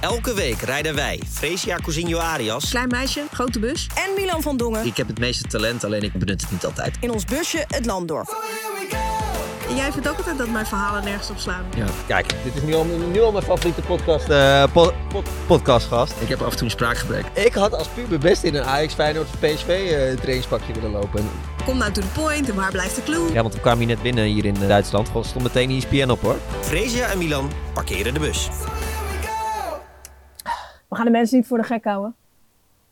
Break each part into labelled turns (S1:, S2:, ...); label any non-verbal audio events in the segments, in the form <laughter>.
S1: Elke week rijden wij Fresia Cousinho Arias.
S2: Klein meisje, grote bus.
S3: en Milan van Dongen
S1: Ik heb het meeste talent, alleen ik benut het niet altijd.
S3: in ons busje het land door.
S2: En jij vindt ook altijd dat mijn verhalen nergens op slaan.
S1: Ja. Kijk,
S4: Dit is nu al, nu al mijn favoriete podcast, eh, po- po- podcastgast.
S1: ik heb af en toe een spraakgebrek.
S4: Ik had als puber best in een Ajax Feyenoord of PSV eh, trainingspakje willen lopen.
S2: Kom nou to the point en waar blijft de clue?
S4: Ja, want we kwamen hier net binnen hier in eh, Duitsland. Gewoon stond meteen E ESPN op hoor.
S1: Fresia en Milan parkeren de bus.
S5: We gaan de mensen niet voor de gek houden.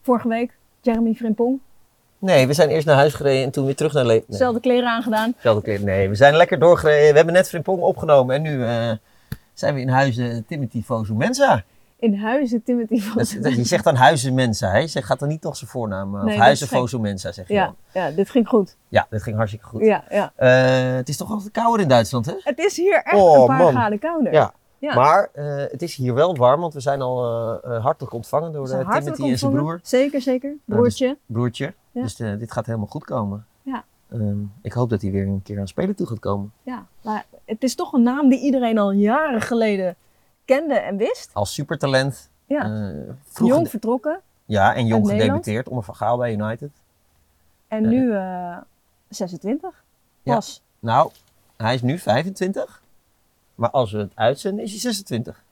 S5: Vorige week, Jeremy Frimpong.
S4: Nee, we zijn eerst naar huis gereden en toen weer terug naar Le nee,
S5: Zelfde kleren aangedaan.
S4: zelfde keer. Nee, we zijn lekker doorgereden. We hebben net Frimpong opgenomen en nu eh, zijn we in huizen Timothy Fosu Mensa.
S5: In huizen Timothy van
S4: Dat, dat- je zegt dan huizen Mensa, hè? Je gaat dan niet toch zijn voornaam. eh,
S5: Nee,
S4: of
S5: dat
S4: huizen
S5: is gek.
S4: Fosu Mensa, zeg je
S5: ja,
S4: dan.
S5: ja, dit ging goed.
S4: Ja, dat ging hartstikke goed.
S5: Ja, ja.
S4: Eh, het is toch altijd kouder in Duitsland, hè?
S5: Het is hier echt
S4: Oh,
S5: een paar
S4: man.
S5: graden kouder.
S4: Ja.
S5: Ja.
S4: Maar eh, het is hier wel warm, want we zijn al eh, eh, hartelijk ontvangen door
S5: Ze
S4: eh,
S5: zijn
S4: Timothy
S5: hartelijk
S4: en zijn
S5: ontvangen.
S4: broer,
S5: Zeker, zeker. Broertje.
S4: broertje.
S5: Ja.
S4: Dus eh, dit gaat helemaal goed komen.
S5: Ja.
S4: Ehm, ik hoop dat hij weer een keer aan spelen toe gaat komen.
S5: Ja, maar het is toch een naam die iedereen al jaren geleden kende en wist.
S4: Als supertalent.
S5: Ja.
S4: eh, vroeg
S5: Jong
S4: gede-
S5: vertrokken.
S4: ja, en jong
S5: uit Nederland.
S4: gedebuteerd onder Van Gaal bij United.
S5: En nu eh, 26.
S4: Ja.
S5: Pas.
S4: Nou, hij is nu 25. Maar als we het uitzenden, is hij 26.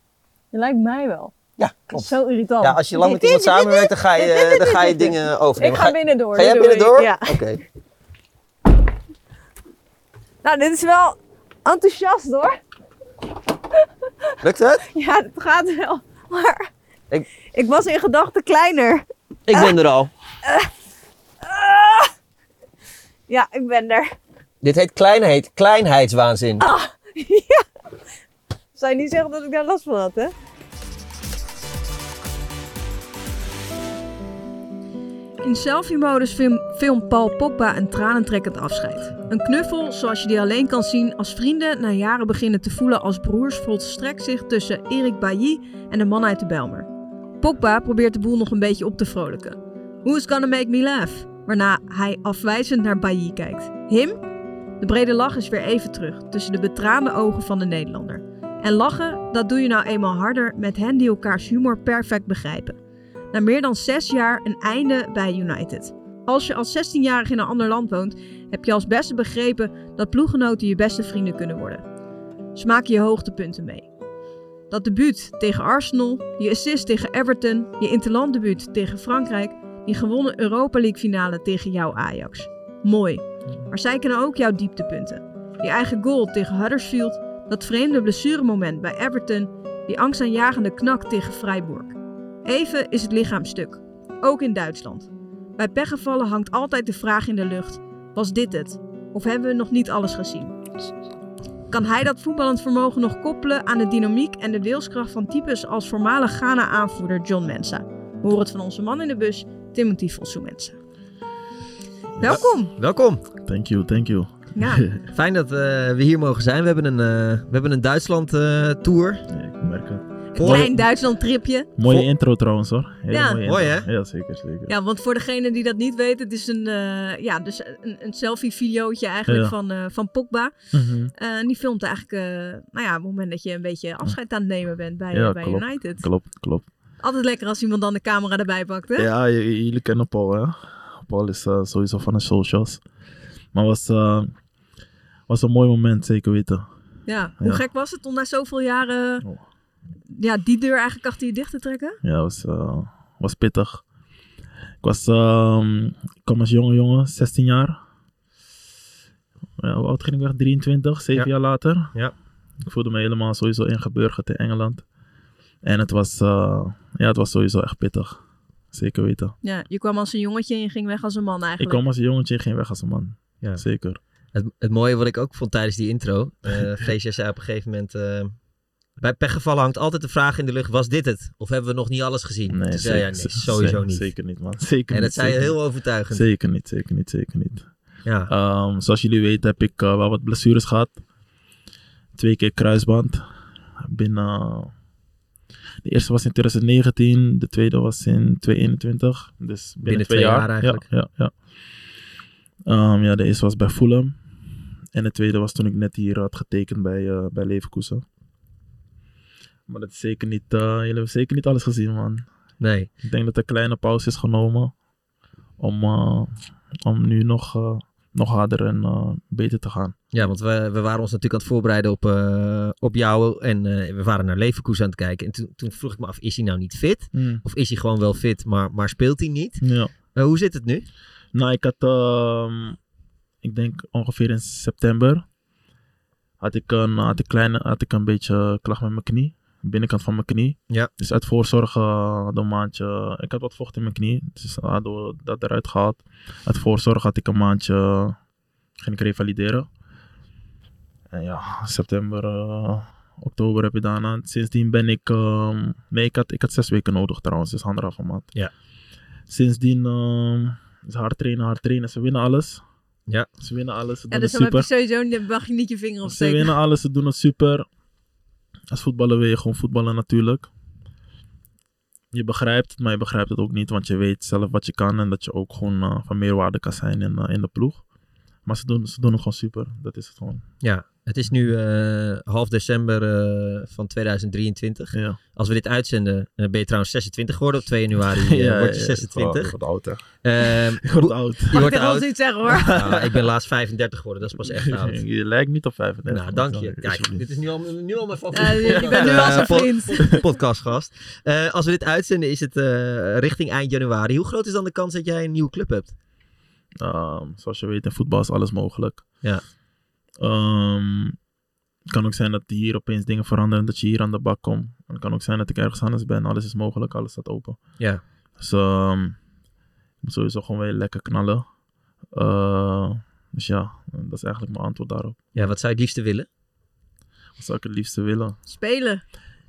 S5: Je lijkt mij wel.
S4: Ja,
S5: Dat is
S4: klopt.
S5: zo irritant.
S4: Ja, als je lang met
S5: Dit, <laughs>
S4: iemand
S5: dit, dit,
S4: samenwerkt, dan ga
S5: dit, dit,
S4: je, eh,
S5: dit,
S4: dan
S5: dit,
S4: ga
S5: <laughs>
S4: je
S5: dit, dit.
S4: dingen overnemen.
S5: Ik ga binnendoor.
S4: Ga jij
S5: dat doe ik.
S4: binnendoor?
S5: Ja.
S4: Oké.
S5: Nou, dit is wel enthousiast hoor.
S4: Lukt het?
S5: Ja, het gaat wel. Maar
S4: Ik-
S5: ik, was in gedachten kleiner.
S4: Ik ben er al.
S5: Ja, ik ben er.
S4: Dit heet kleinheid, kleinheidswaanzin.
S5: Zou je niet zeggen dat ik daar last van had, hè?
S2: In selfie-modus film, filmt Paul Pogba een tranentrekkend afscheid. Een knuffel zoals je die alleen kan zien als vrienden na jaren beginnen te voelen als broers volstrekt zich tussen Erik Bailly en de man uit de Belmer. Pogba probeert de boel nog een beetje op te vrolijken. Who's gonna make me laugh? Waarna hij afwijzend naar Bailly kijkt. Him? De brede lach is weer even terug tussen de betraande ogen van de Nederlander. En lachen, dat doe je nou eenmaal harder met hen die elkaars humor perfect begrijpen na meer dan zes jaar een einde bij United. Als je als 16-jarige in een ander land woont, heb je als beste begrepen dat ploeggenoten je beste vrienden kunnen worden. Ze maken je hoogtepunten mee. Dat debuut tegen Arsenal, je assist tegen Everton, je interlanddebuut tegen Frankrijk, die gewonnen Europa League finale tegen jouw Ajax. Mooi, maar zij kennen ook jouw dieptepunten. Je eigen goal tegen Huddersfield, dat vreemde blessuremoment bij Everton, die angstaanjagende knak tegen Freiburg. Even is het lichaam stuk, ook in Duitsland. Bij pechgevallen hangt altijd de vraag in de lucht: was dit het? Of hebben we nog niet alles gezien? Kan hij dat voetballend vermogen nog koppelen aan de dynamiek en de wilskracht van types als voormalig Ghana-aanvoerder John Mensa? We horen het van onze man in de bus, Timothy Vossou Mensa. Welkom!
S4: Welkom.
S6: Thank you, thank you.
S2: Ja,
S4: Fijn dat eh, we hier mogen zijn. We hebben een, eh, we hebben een Duitsland eh, tour.
S6: Ja, ik merk het.
S2: een klein Duitsland-tripje.
S6: Mooie
S4: Vol-
S6: intro trouwens hoor. Hele
S2: Ja.
S6: mooie
S4: Mooi,
S6: intro. Ja, zeker, zeker.
S2: Ja, want voor degenen die dat niet weten, het is een, eh, ja, dus een, een selfie-videootje eigenlijk
S6: Ja.
S2: van, eh, van Pogba.
S6: Mhm.
S2: Eh, en die filmt eigenlijk, eh, nou ja, op het moment dat je een beetje afscheid aan het nemen bent bij,
S6: Ja,
S2: bij
S6: klopt,
S2: United.
S6: Klopt, klopt.
S2: Altijd lekker als iemand dan de camera erbij pakt, hè?
S6: Ja, j- j- jullie kennen Paul hè. Paul is eh, sowieso van de socials. Maar was, eh, was een mooi moment, zeker weten.
S2: Ja. Hoe
S6: Ja.
S2: gek was het om na zoveel jaren
S6: Oh.
S2: ja, die deur eigenlijk achter je dicht te trekken?
S6: Ja, was, eh, was pittig. Ik was, ehm, ik kwam als jonge jongen, 16 jaar. Ja, hoe oud ging ik weg? 23, 7
S4: Ja.
S6: jaar later.
S4: Ja.
S6: Ik voelde me helemaal sowieso ingeburgerd in Engeland. En het was, eh, ja, het was sowieso echt pittig. Zeker weten.
S2: Ja, je kwam als een jongetje en je ging weg als een man
S6: Ik
S2: eigenlijk.
S6: kwam als een jongetje, ik ging weg als een man.
S4: Ja.
S6: Zeker.
S4: Het, het mooie wat ik ook vond tijdens die intro. eh <laughs> Freesia zei op een gegeven moment... eh, bij pechgevallen hangt altijd de vraag in de lucht, was dit het? Of hebben we nog niet alles gezien? Toen zei jij, nee, sowieso
S6: zeker,
S4: niet.
S6: Zeker niet, man. Zeker
S4: En dat
S6: niet,
S4: zei je
S6: zeker
S4: heel
S6: niet.
S4: overtuigend.
S6: Zeker niet, zeker niet, zeker niet.
S4: Ja.
S6: Ehm, zoals jullie weten heb ik eh, wel wat blessures gehad. Twee keer kruisband. Binnen... De eerste was in 2019, de tweede was in 2021. Dus binnen,
S4: Binnen
S6: twee
S4: twee
S6: jaar,
S4: jaar eigenlijk.
S6: Ja, ja, ja. Ehm, ja, de eerste was bij Fulham. En de tweede was toen ik net hier had getekend bij, eh bij Leverkusen. Maar dat is zeker niet, eh, jullie hebben zeker niet alles gezien, man.
S4: Nee.
S6: Ik denk dat er een kleine pauze is genomen om, eh, om nu nog, eh, nog harder en eh, beter te gaan.
S4: Ja, want we, we waren ons natuurlijk aan het voorbereiden op, eh, op jou. En eh, we waren naar Leverkusen aan het kijken. En toen, toen vroeg ik me af, is hij nou niet fit? Of is hij gewoon wel fit, maar, maar speelt hij niet?
S6: Ja.
S4: Eh, hoe zit het nu?
S6: Nou, ik had, ehm, ik denk ongeveer in september, had ik een, had ik kleine, had ik een beetje klacht met mijn knie. Binnenkant van mijn knie.
S4: Ja.
S6: Dus uit voorzorg eh hadden we een maandje, ik had wat vocht in mijn knie, dus hadden we dat eruit gehaald. Uit voorzorg had ik een maandje, ging ik revalideren. En ja, september, eh, oktober heb je daarna. Sindsdien ben ik, ehm, nee, ik had, ik had zes weken nodig trouwens, dus anderhalve maand.
S4: Ja.
S6: Sindsdien ehm, is hard trainen, hard trainen. Ze winnen alles.
S4: Ja.
S6: Ze winnen alles. Ze
S2: Ja,
S6: doen
S2: dus
S6: het
S2: dan heb je
S6: super.
S2: sowieso niet- mag je niet je vinger <laughs>
S6: Ze
S2: opsteken.
S6: winnen alles. Ze doen het super. Als voetballer wil je gewoon voetballen natuurlijk. Je begrijpt het, maar je begrijpt het ook niet. Want je weet zelf wat je kan. En dat je ook gewoon eh, van meerwaarde kan zijn in, eh, in de ploeg. Maar ze doen, ze doen het gewoon super. Dat is het gewoon.
S4: Ja, het is nu eh, half december eh, van 2023.
S6: Ja.
S4: Als we dit uitzenden, eh, ben je trouwens 26 geworden. Op 2
S2: <laughs>
S4: januari eh,
S6: <laughs> Ja,
S4: word je
S6: ja,
S4: 26.
S7: Wat oud, hè?
S4: Ehm,
S6: Ik word oud.
S4: je wordt
S2: ik wil
S4: oud.
S2: zoiets zeggen hoor.
S4: Nou, ik ben laatst 35 geworden, dat is pas
S6: <laughs>
S4: echt
S2: <laughs>
S4: oud.
S6: Je lijkt niet op 35.
S4: Nou, dank je. Kijk,
S6: Alsjeblieft.
S4: dit is nu al, nu al mijn
S2: Ja,
S4: favoriete
S2: ik ben nu
S4: eh,
S2: al zijn
S4: pod- <laughs>
S2: vriend.
S4: podcastgast. Eh, als we dit uitzenden is het eh, richting eind januari. Hoe groot is dan de kans dat jij een nieuwe club hebt?
S6: Ehm, zoals je weet, in voetbal is alles mogelijk.
S4: Ja.
S6: Ehm, het kan ook zijn dat hier opeens dingen veranderen, dat je hier aan de bak komt. En het kan ook zijn dat ik ergens anders ben. Alles is mogelijk, alles staat open.
S4: Ja.
S6: Dus ehm, ik moet sowieso gewoon weer lekker knallen. Eh, dus ja, dat is eigenlijk mijn antwoord daarop.
S4: Ja, wat zou je het liefste willen?
S6: Wat zou ik het liefste willen?
S2: Spelen.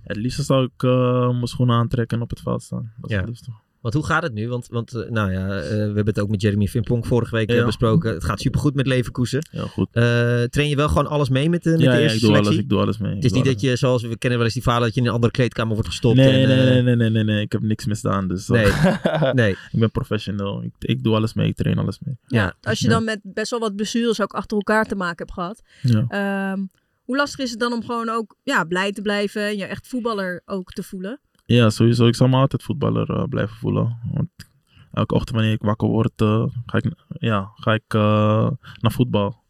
S6: Het liefste zou ik eh, mijn schoenen aantrekken en op het veld staan. Dat is
S4: Ja.
S6: het liefste.
S4: Want hoe gaat het nu? Want, want eh, nou ja, eh, we hebben het ook met Jeremy Vimpong vorige week eh,
S6: Ja.
S4: besproken. Het gaat supergoed met Leverkusen.
S6: Ja, goed.
S4: Eh, train je wel gewoon alles mee met de, met
S6: Ja,
S4: de
S6: ja,
S4: eerste
S6: ik doe
S4: selectie?
S6: alles, ik doe alles mee.
S4: Het is niet dat je, zoals we kennen wel eens die verhalen, dat je in een andere kleedkamer wordt gestopt.
S6: Nee,
S4: en,
S6: nee,
S4: eh,
S6: nee, nee, nee, nee, nee, ik heb niks misdaan. Dus eh,
S4: <laughs> nee. nee.
S6: Ik ben professional. Ik, ik doe alles mee. Ik train alles mee.
S4: Ja.
S2: Als je dan met best wel wat blessures ook achter elkaar te maken hebt gehad.
S6: Ja.
S2: Ehm, hoe lastig is het dan om gewoon ook ja, blij te blijven en je echt voetballer ook te voelen?
S6: ja, sowieso. Ik zal me altijd voetballer eh, blijven voelen. Want elke ochtend wanneer ik wakker word, eh, ga ik, ja, ga ik eh, naar voetbal.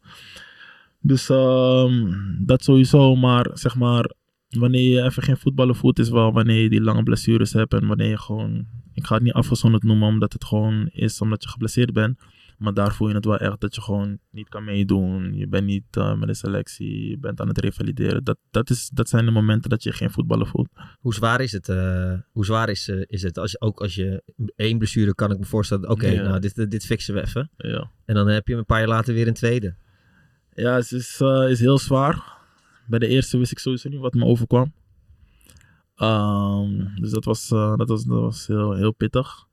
S6: Dus ehm, dat sowieso. Maar zeg maar, wanneer je even geen voetballen voelt, is wel wanneer je die lange blessures hebt. En wanneer je gewoon... Ik ga het niet afgezonderd noemen, omdat het gewoon is omdat je geblesseerd bent. Maar daar voel je het wel echt dat je gewoon niet kan meedoen. Je bent niet eh, met de selectie. Je bent aan het revalideren. Dat, dat, is, dat zijn de momenten dat je geen voetballen voelt.
S4: Hoe zwaar is het? eh, hoe zwaar is, eh, is het? Als, ook als je één blessure kan ik me voorstellen. Oké,
S6: Ja.
S4: nou dit, dit fixen we even.
S6: Ja.
S4: En dan heb je hem een paar jaar later weer een tweede.
S6: Ja, het is, eh, is heel zwaar. Bij de eerste wist ik sowieso niet wat me overkwam. Ehm, dus dat was, eh, dat was, dat was heel, heel pittig.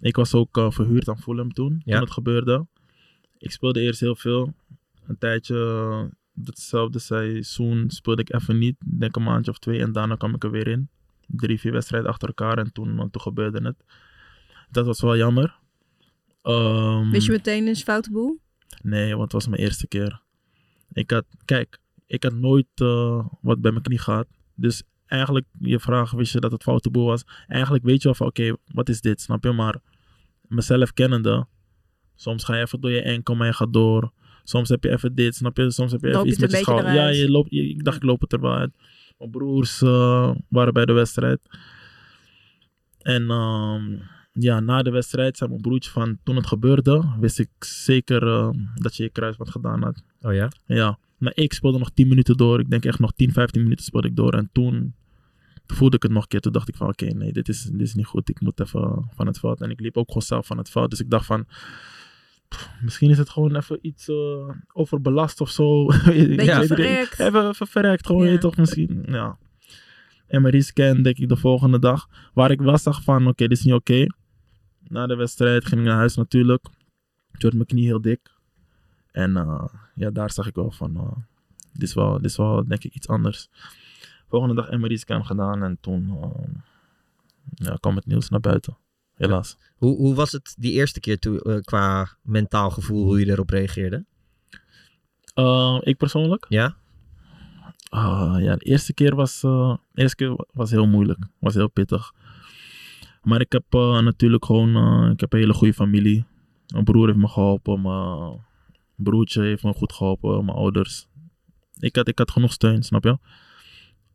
S6: Ik was ook eh, verhuurd aan Fulham toen,
S4: Ja.
S6: toen het gebeurde. Ik speelde eerst heel veel. Een tijdje, eh, datzelfde seizoen, speelde ik even niet. Ik Denk een maandje of twee en daarna kwam ik er weer in. Drie, vier wedstrijden achter elkaar en toen, toen gebeurde het. Dat was wel jammer. Ehm,
S2: Wist je meteen eens foute boel?
S6: Nee, want het was mijn eerste keer. Ik had, kijk, ik had nooit eh, wat bij mijn knie gehad. Dus eigenlijk, je vraag, wist je dat het foute boel was? Eigenlijk weet je wel van, oké, wat is dit, snap je? Maar mezelf kennende, soms ga je even door je enkel, maar je gaat door. Soms heb je even dit, snap je? Soms heb je even
S2: Loop je
S6: iets
S2: het
S6: met je
S2: een beetje
S6: schouder. Ja,
S2: eruit?
S6: je loopt, je- ik dacht, ik loop het er wel uit. Mijn broers eh, waren bij de wedstrijd. En ehm, ja, na de wedstrijd zei mijn broertje van, toen het gebeurde, wist ik zeker eh, dat je je kruisband gedaan had.
S4: Oh ja?
S6: Ja, maar ik speelde nog 10 minuten door. Ik denk echt nog 10, 15 minuten speelde ik door. En toen voelde ik het nog een keer. Toen dacht ik van, oké, nee, dit is, dit is niet goed. Ik moet even van het veld. En ik liep ook gewoon zelf van het veld. Dus ik dacht van, pff, misschien is het gewoon even iets eh, overbelast of zo. <laughs> Beetje
S2: Beetje verrekt.
S6: Even, even verrekt, gewoon,
S2: Ja.
S6: je weet toch, misschien, ja. MRI-scan, denk ik, de volgende dag. Waar ik wel zag van, oké, dit is niet oké. Na de wedstrijd ging ik naar huis natuurlijk. Toen werd mijn knie heel dik. En eh, ja, daar zag ik wel van, eh, dit, is wel, dit is wel denk ik iets anders. Volgende dag MRI-scan gedaan en toen eh, ja, kwam het nieuws naar buiten. Helaas.
S4: Hoe, hoe was het die eerste keer toe, eh, qua mentaal
S6: <laughs>
S4: gevoel, hoe je erop reageerde?
S6: Eh, ik persoonlijk?
S4: Ja?
S6: Ah, ja, de eerste keer was, eh, de eerste keer wa- was heel moeilijk. Was heel pittig. Maar ik heb eh, natuurlijk gewoon eh, ik heb een hele goede familie. Mijn broer heeft me geholpen. Mijn broertje heeft me goed geholpen. Mijn ouders. Ik had, ik had genoeg steun, snap je?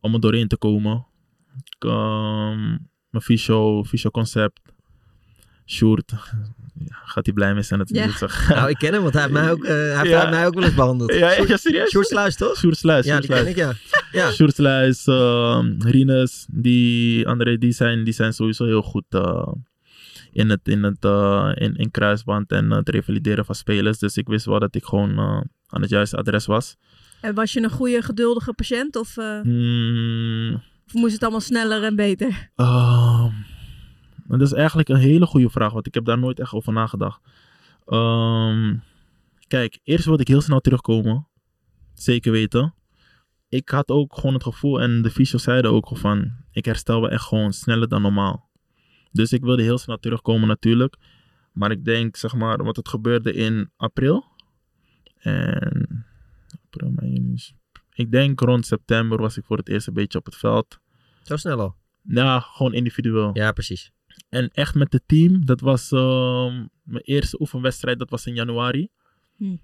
S6: Om er doorheen te komen. Ik, ehm, mijn fysio, fysio concept. Sjoerd. <laughs> Ja, gaat hij blij mee zijn dat hij
S2: Ja.
S6: dit zegt. <laughs>
S4: Nou, ik ken hem, want hij heeft mij ook, eh, hij
S6: Ja.
S4: heeft mij ook wel eens behandeld.
S6: Ja, ja, serieus?
S4: Sjoerd Sluis, toch?
S6: Sjoerd Sluis.
S4: Ja,
S6: Sjoerd
S4: die
S6: Sluis.
S4: ken ik, ja. Ja.
S6: Sjoerdsluis, ehm, Rinus, die andere, die zijn, die zijn sowieso heel goed eh, in, het, in, het, eh, in, in kruisband en eh, het revalideren van spelers. Dus ik wist wel dat ik gewoon eh, aan het juiste adres was.
S2: En was je een goede, geduldige patiënt of, eh,
S6: Hmm,
S2: of moest het allemaal sneller en
S6: <laughs>
S2: beter?
S6: Ehm, dat is eigenlijk een hele goede vraag, want ik heb daar nooit echt over nagedacht. Ehm, kijk, eerst wilde ik heel snel terugkomen. Zeker weten. Ik had ook gewoon het gevoel, en de fysio zeiden ook gewoon van, ik herstel wel echt gewoon sneller dan normaal. Dus ik wilde heel snel terugkomen natuurlijk. Maar ik denk, zeg maar, want het gebeurde in april. En, april, mei, juni, juli. ik denk rond september was ik voor het eerst een beetje op het veld.
S4: Zo snel al.
S6: Ja, gewoon individueel.
S4: Ja, precies.
S6: En echt met het team, dat was ehm, mijn eerste oefenwedstrijd, dat was in januari.
S2: Hm.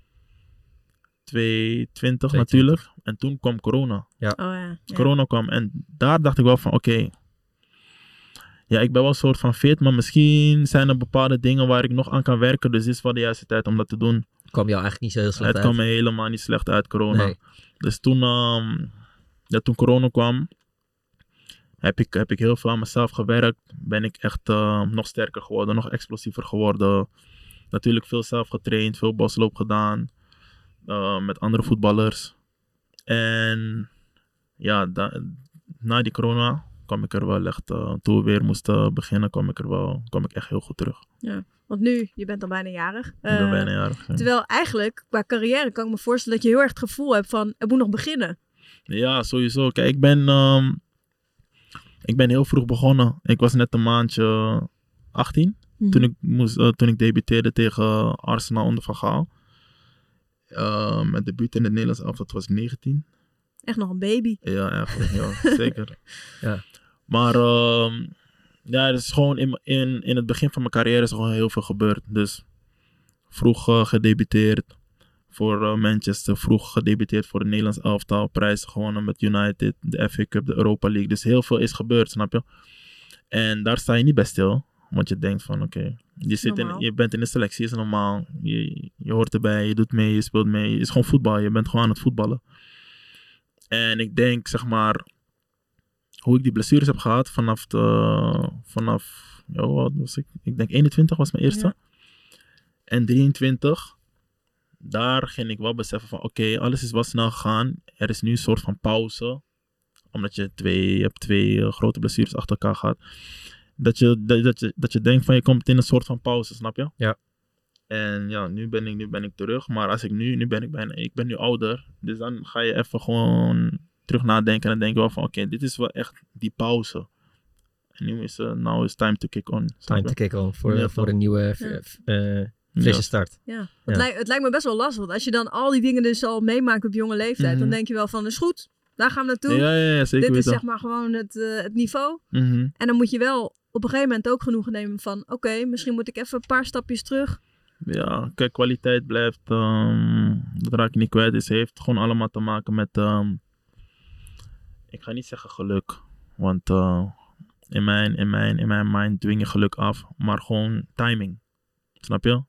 S6: 2020
S4: 2020.
S6: natuurlijk. En toen kwam corona.
S2: Oh ja. ja.
S6: Corona kwam en daar dacht ik wel van, oké. ja, ik ben wel een soort van fit, maar misschien zijn er bepaalde dingen waar ik nog aan kan werken. Dus dit is wel de juiste tijd om dat te doen.
S4: Kwam jou eigenlijk niet zo heel slecht
S6: het
S4: uit.
S6: kwam me helemaal niet slecht uit, corona.
S4: Nee.
S6: Dus toen, ehm, ja, toen corona kwam, heb ik, heb ik heel veel aan mezelf gewerkt. Ben ik echt eh, nog sterker geworden, nog explosiever geworden. Natuurlijk veel zelf getraind, veel bosloop gedaan. eh, met andere voetballers. En ja, da- na die corona kwam ik er wel echt... eh, toen we weer moesten beginnen, kwam ik er wel... kwam ik echt heel goed terug.
S2: Want nu, je bent al bijna jarig.
S6: ik ben
S2: Eh,
S6: bijna jarig. ja.
S2: Terwijl eigenlijk, qua carrière, kan ik me voorstellen dat je heel erg het gevoel hebt van, het moet nog beginnen.
S6: Ja, sowieso. Kijk, ik ben, ehm, ik ben heel vroeg begonnen. Ik was net een maandje 18 toen ik, moest, eh, toen ik debuteerde tegen Arsenal onder Van Gaal. Eh, mijn debuut in het Nederlands elftal toen was ik 19.
S2: Echt nog een baby.
S6: Ja, <laughs> eigenlijk, ja, zeker.
S4: Ja.
S6: Maar ehm, ja, het is gewoon in, in, in het begin van mijn carrière is er gewoon heel veel gebeurd. Dus vroeg eh, gedebuteerd voor eh, Manchester, vroeg gedebuteerd voor het Nederlands elftal, prijzen gewonnen met United, de FA Cup, de Europa League. Dus heel veel is gebeurd, snap je? En daar sta je niet bij stil, want je denkt van oké, je zit in
S2: Normaal.
S6: je bent in de selectie, is normaal. Je, je hoort erbij, je doet mee, je speelt mee. Het is gewoon voetbal, je bent gewoon aan het voetballen. En ik denk, zeg maar, hoe ik die blessures heb gehad vanaf de, vanaf, ja, hoe oud was ik? Ik denk 21 was mijn eerste.
S2: Ja.
S6: En 23, daar ging ik wel beseffen van, oké, alles is wel snel gegaan. Er is nu een soort van pauze, omdat je, twee, je hebt twee eh, grote blessures achter elkaar gehad. Dat je, dat, dat, je, dat je denkt van, je komt in een soort van pauze, snap je?
S4: Ja.
S6: En ja, nu ben ik, nu ben ik terug. Maar als ik nu, nu ben ik bijna, ik ben nu ouder. Dus dan ga je even gewoon terug nadenken. En dan denk je wel van, oké, dit is wel echt die pauze. En nu is het, now is time to kick on. snap
S4: Time
S6: je?
S4: to kick on voor,
S6: Ja,
S4: voor een nieuwe, eh,
S2: Ja.
S4: f- eh,
S6: Ja.
S4: frisse start.
S2: Het,
S4: Ja.
S2: lijkt, het lijkt me best wel lastig. Want als je dan al die dingen dus al meemaakt op jonge leeftijd, dan
S6: Mhm.
S2: denk je wel van, is goed, daar gaan we naartoe.
S6: Ja, ja, ja, zeker
S2: Dit is
S6: weten.
S2: zeg maar gewoon het, eh, het niveau.
S6: Mhm.
S2: En dan moet je wel op een gegeven moment ook genoegen nemen van, oké, misschien moet ik even een paar stapjes terug.
S6: Ja, kijk, kwaliteit blijft, ehm, dat raak je niet kwijt. Dus het heeft gewoon allemaal te maken met, ehm, ik ga niet zeggen geluk. Want eh, in, mijn, in, mijn, in mijn mind dwing je geluk af. Maar gewoon timing. Snap je?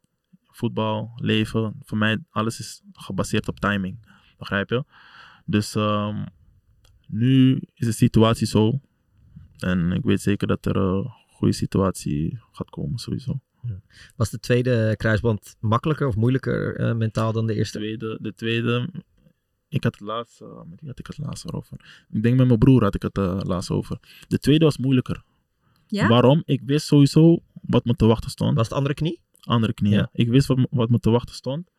S6: Voetbal, leven, voor mij alles is gebaseerd op timing. Begrijp je? Dus ehm, nu is de situatie zo. En ik weet zeker dat er een goede situatie gaat komen sowieso.
S4: Was de tweede kruisband makkelijker of moeilijker eh, mentaal dan de eerste?
S6: tweede, de tweede. Ik had het laatst, eh, met wie had ik het laatst over? Ik denk met mijn broer had ik het eh, laatst over. De tweede was moeilijker.
S2: Ja?
S6: Waarom? Ik wist sowieso wat me te wachten stond.
S4: Was het andere knie?
S6: Andere knieën.
S4: Ja.
S6: Ik wist wat, me- wat me te wachten stond.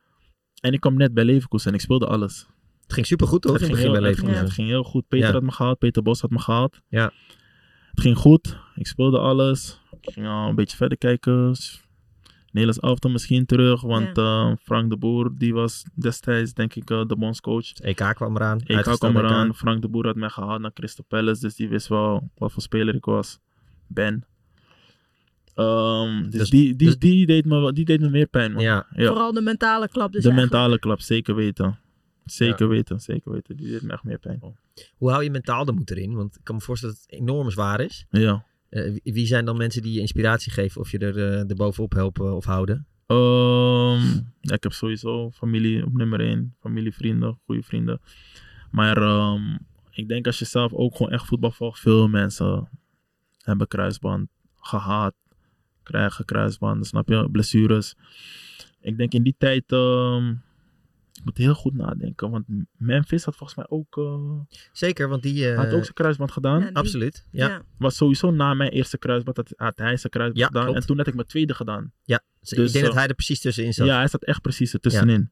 S6: En ik kwam net bij Leverkusen en ik speelde alles.
S4: Het ging supergoed toch?
S6: Het
S4: In het
S6: ging,
S4: begin
S6: heel,
S4: bij
S6: het, ging,
S4: Leverkusen.
S6: het ging heel goed. Peter
S4: Ja.
S6: had me gehaald, Peter Bos had me gehaald.
S4: Ja.
S6: Het ging goed. Ik speelde alles. Ik ging al een beetje verder kijken. Nederlands elftal misschien terug. Want eh, Frank de Boer, die was destijds denk ik eh, de bondscoach.
S4: EK kwam eraan.
S6: Ik kwam eraan. Frank de Boer had mij gehaald naar Crystal Palace. Dus die wist wel wat voor speler ik was. Ben. Ehm, dus,
S4: Dus-
S6: die, die,
S4: dus-
S6: die, deed me, wel- die deed me meer pijn, man.
S4: Ja,
S6: Ja.
S2: Vooral de mentale klap dus
S6: de
S2: eigenlijk.
S6: mentale klap, zeker weten. Zeker weten, zeker weten. Die deed me echt meer
S4: Oh.
S6: pijn.
S4: hoe hou je mentaal de moed erin? Want ik kan me voorstellen dat het enorm zwaar is.
S6: Ja.
S4: Eh, wie- wie zijn dan mensen die je inspiratie geven of je er eh, erbovenop helpen of houden?
S6: Ehm, ja, ik heb sowieso familie op nummer 1. Familie, vrienden, goede vrienden. Maar ehm, ik denk als je zelf ook gewoon echt voetbal volgt, veel mensen hebben kruisband gehad, krijgen kruisbanden, snap je? Blessures. Ik denk in die tijd, ehm, ik moet heel goed nadenken, want Memphis had volgens mij ook, eh,
S4: Zeker, want die... eh,
S6: had ook zijn kruisband gedaan.
S2: Ja, die-
S4: Absoluut, ja.
S6: Was sowieso na mijn eerste kruisband, had, had hij zijn kruisband
S4: Ja,
S6: gedaan.
S4: klopt.
S6: En toen had ik mijn tweede gedaan.
S4: Dus ik
S6: Dus,
S4: denk dat
S6: eh,
S4: hij er precies tussenin zat.
S6: Ja, hij staat echt precies er tussenin.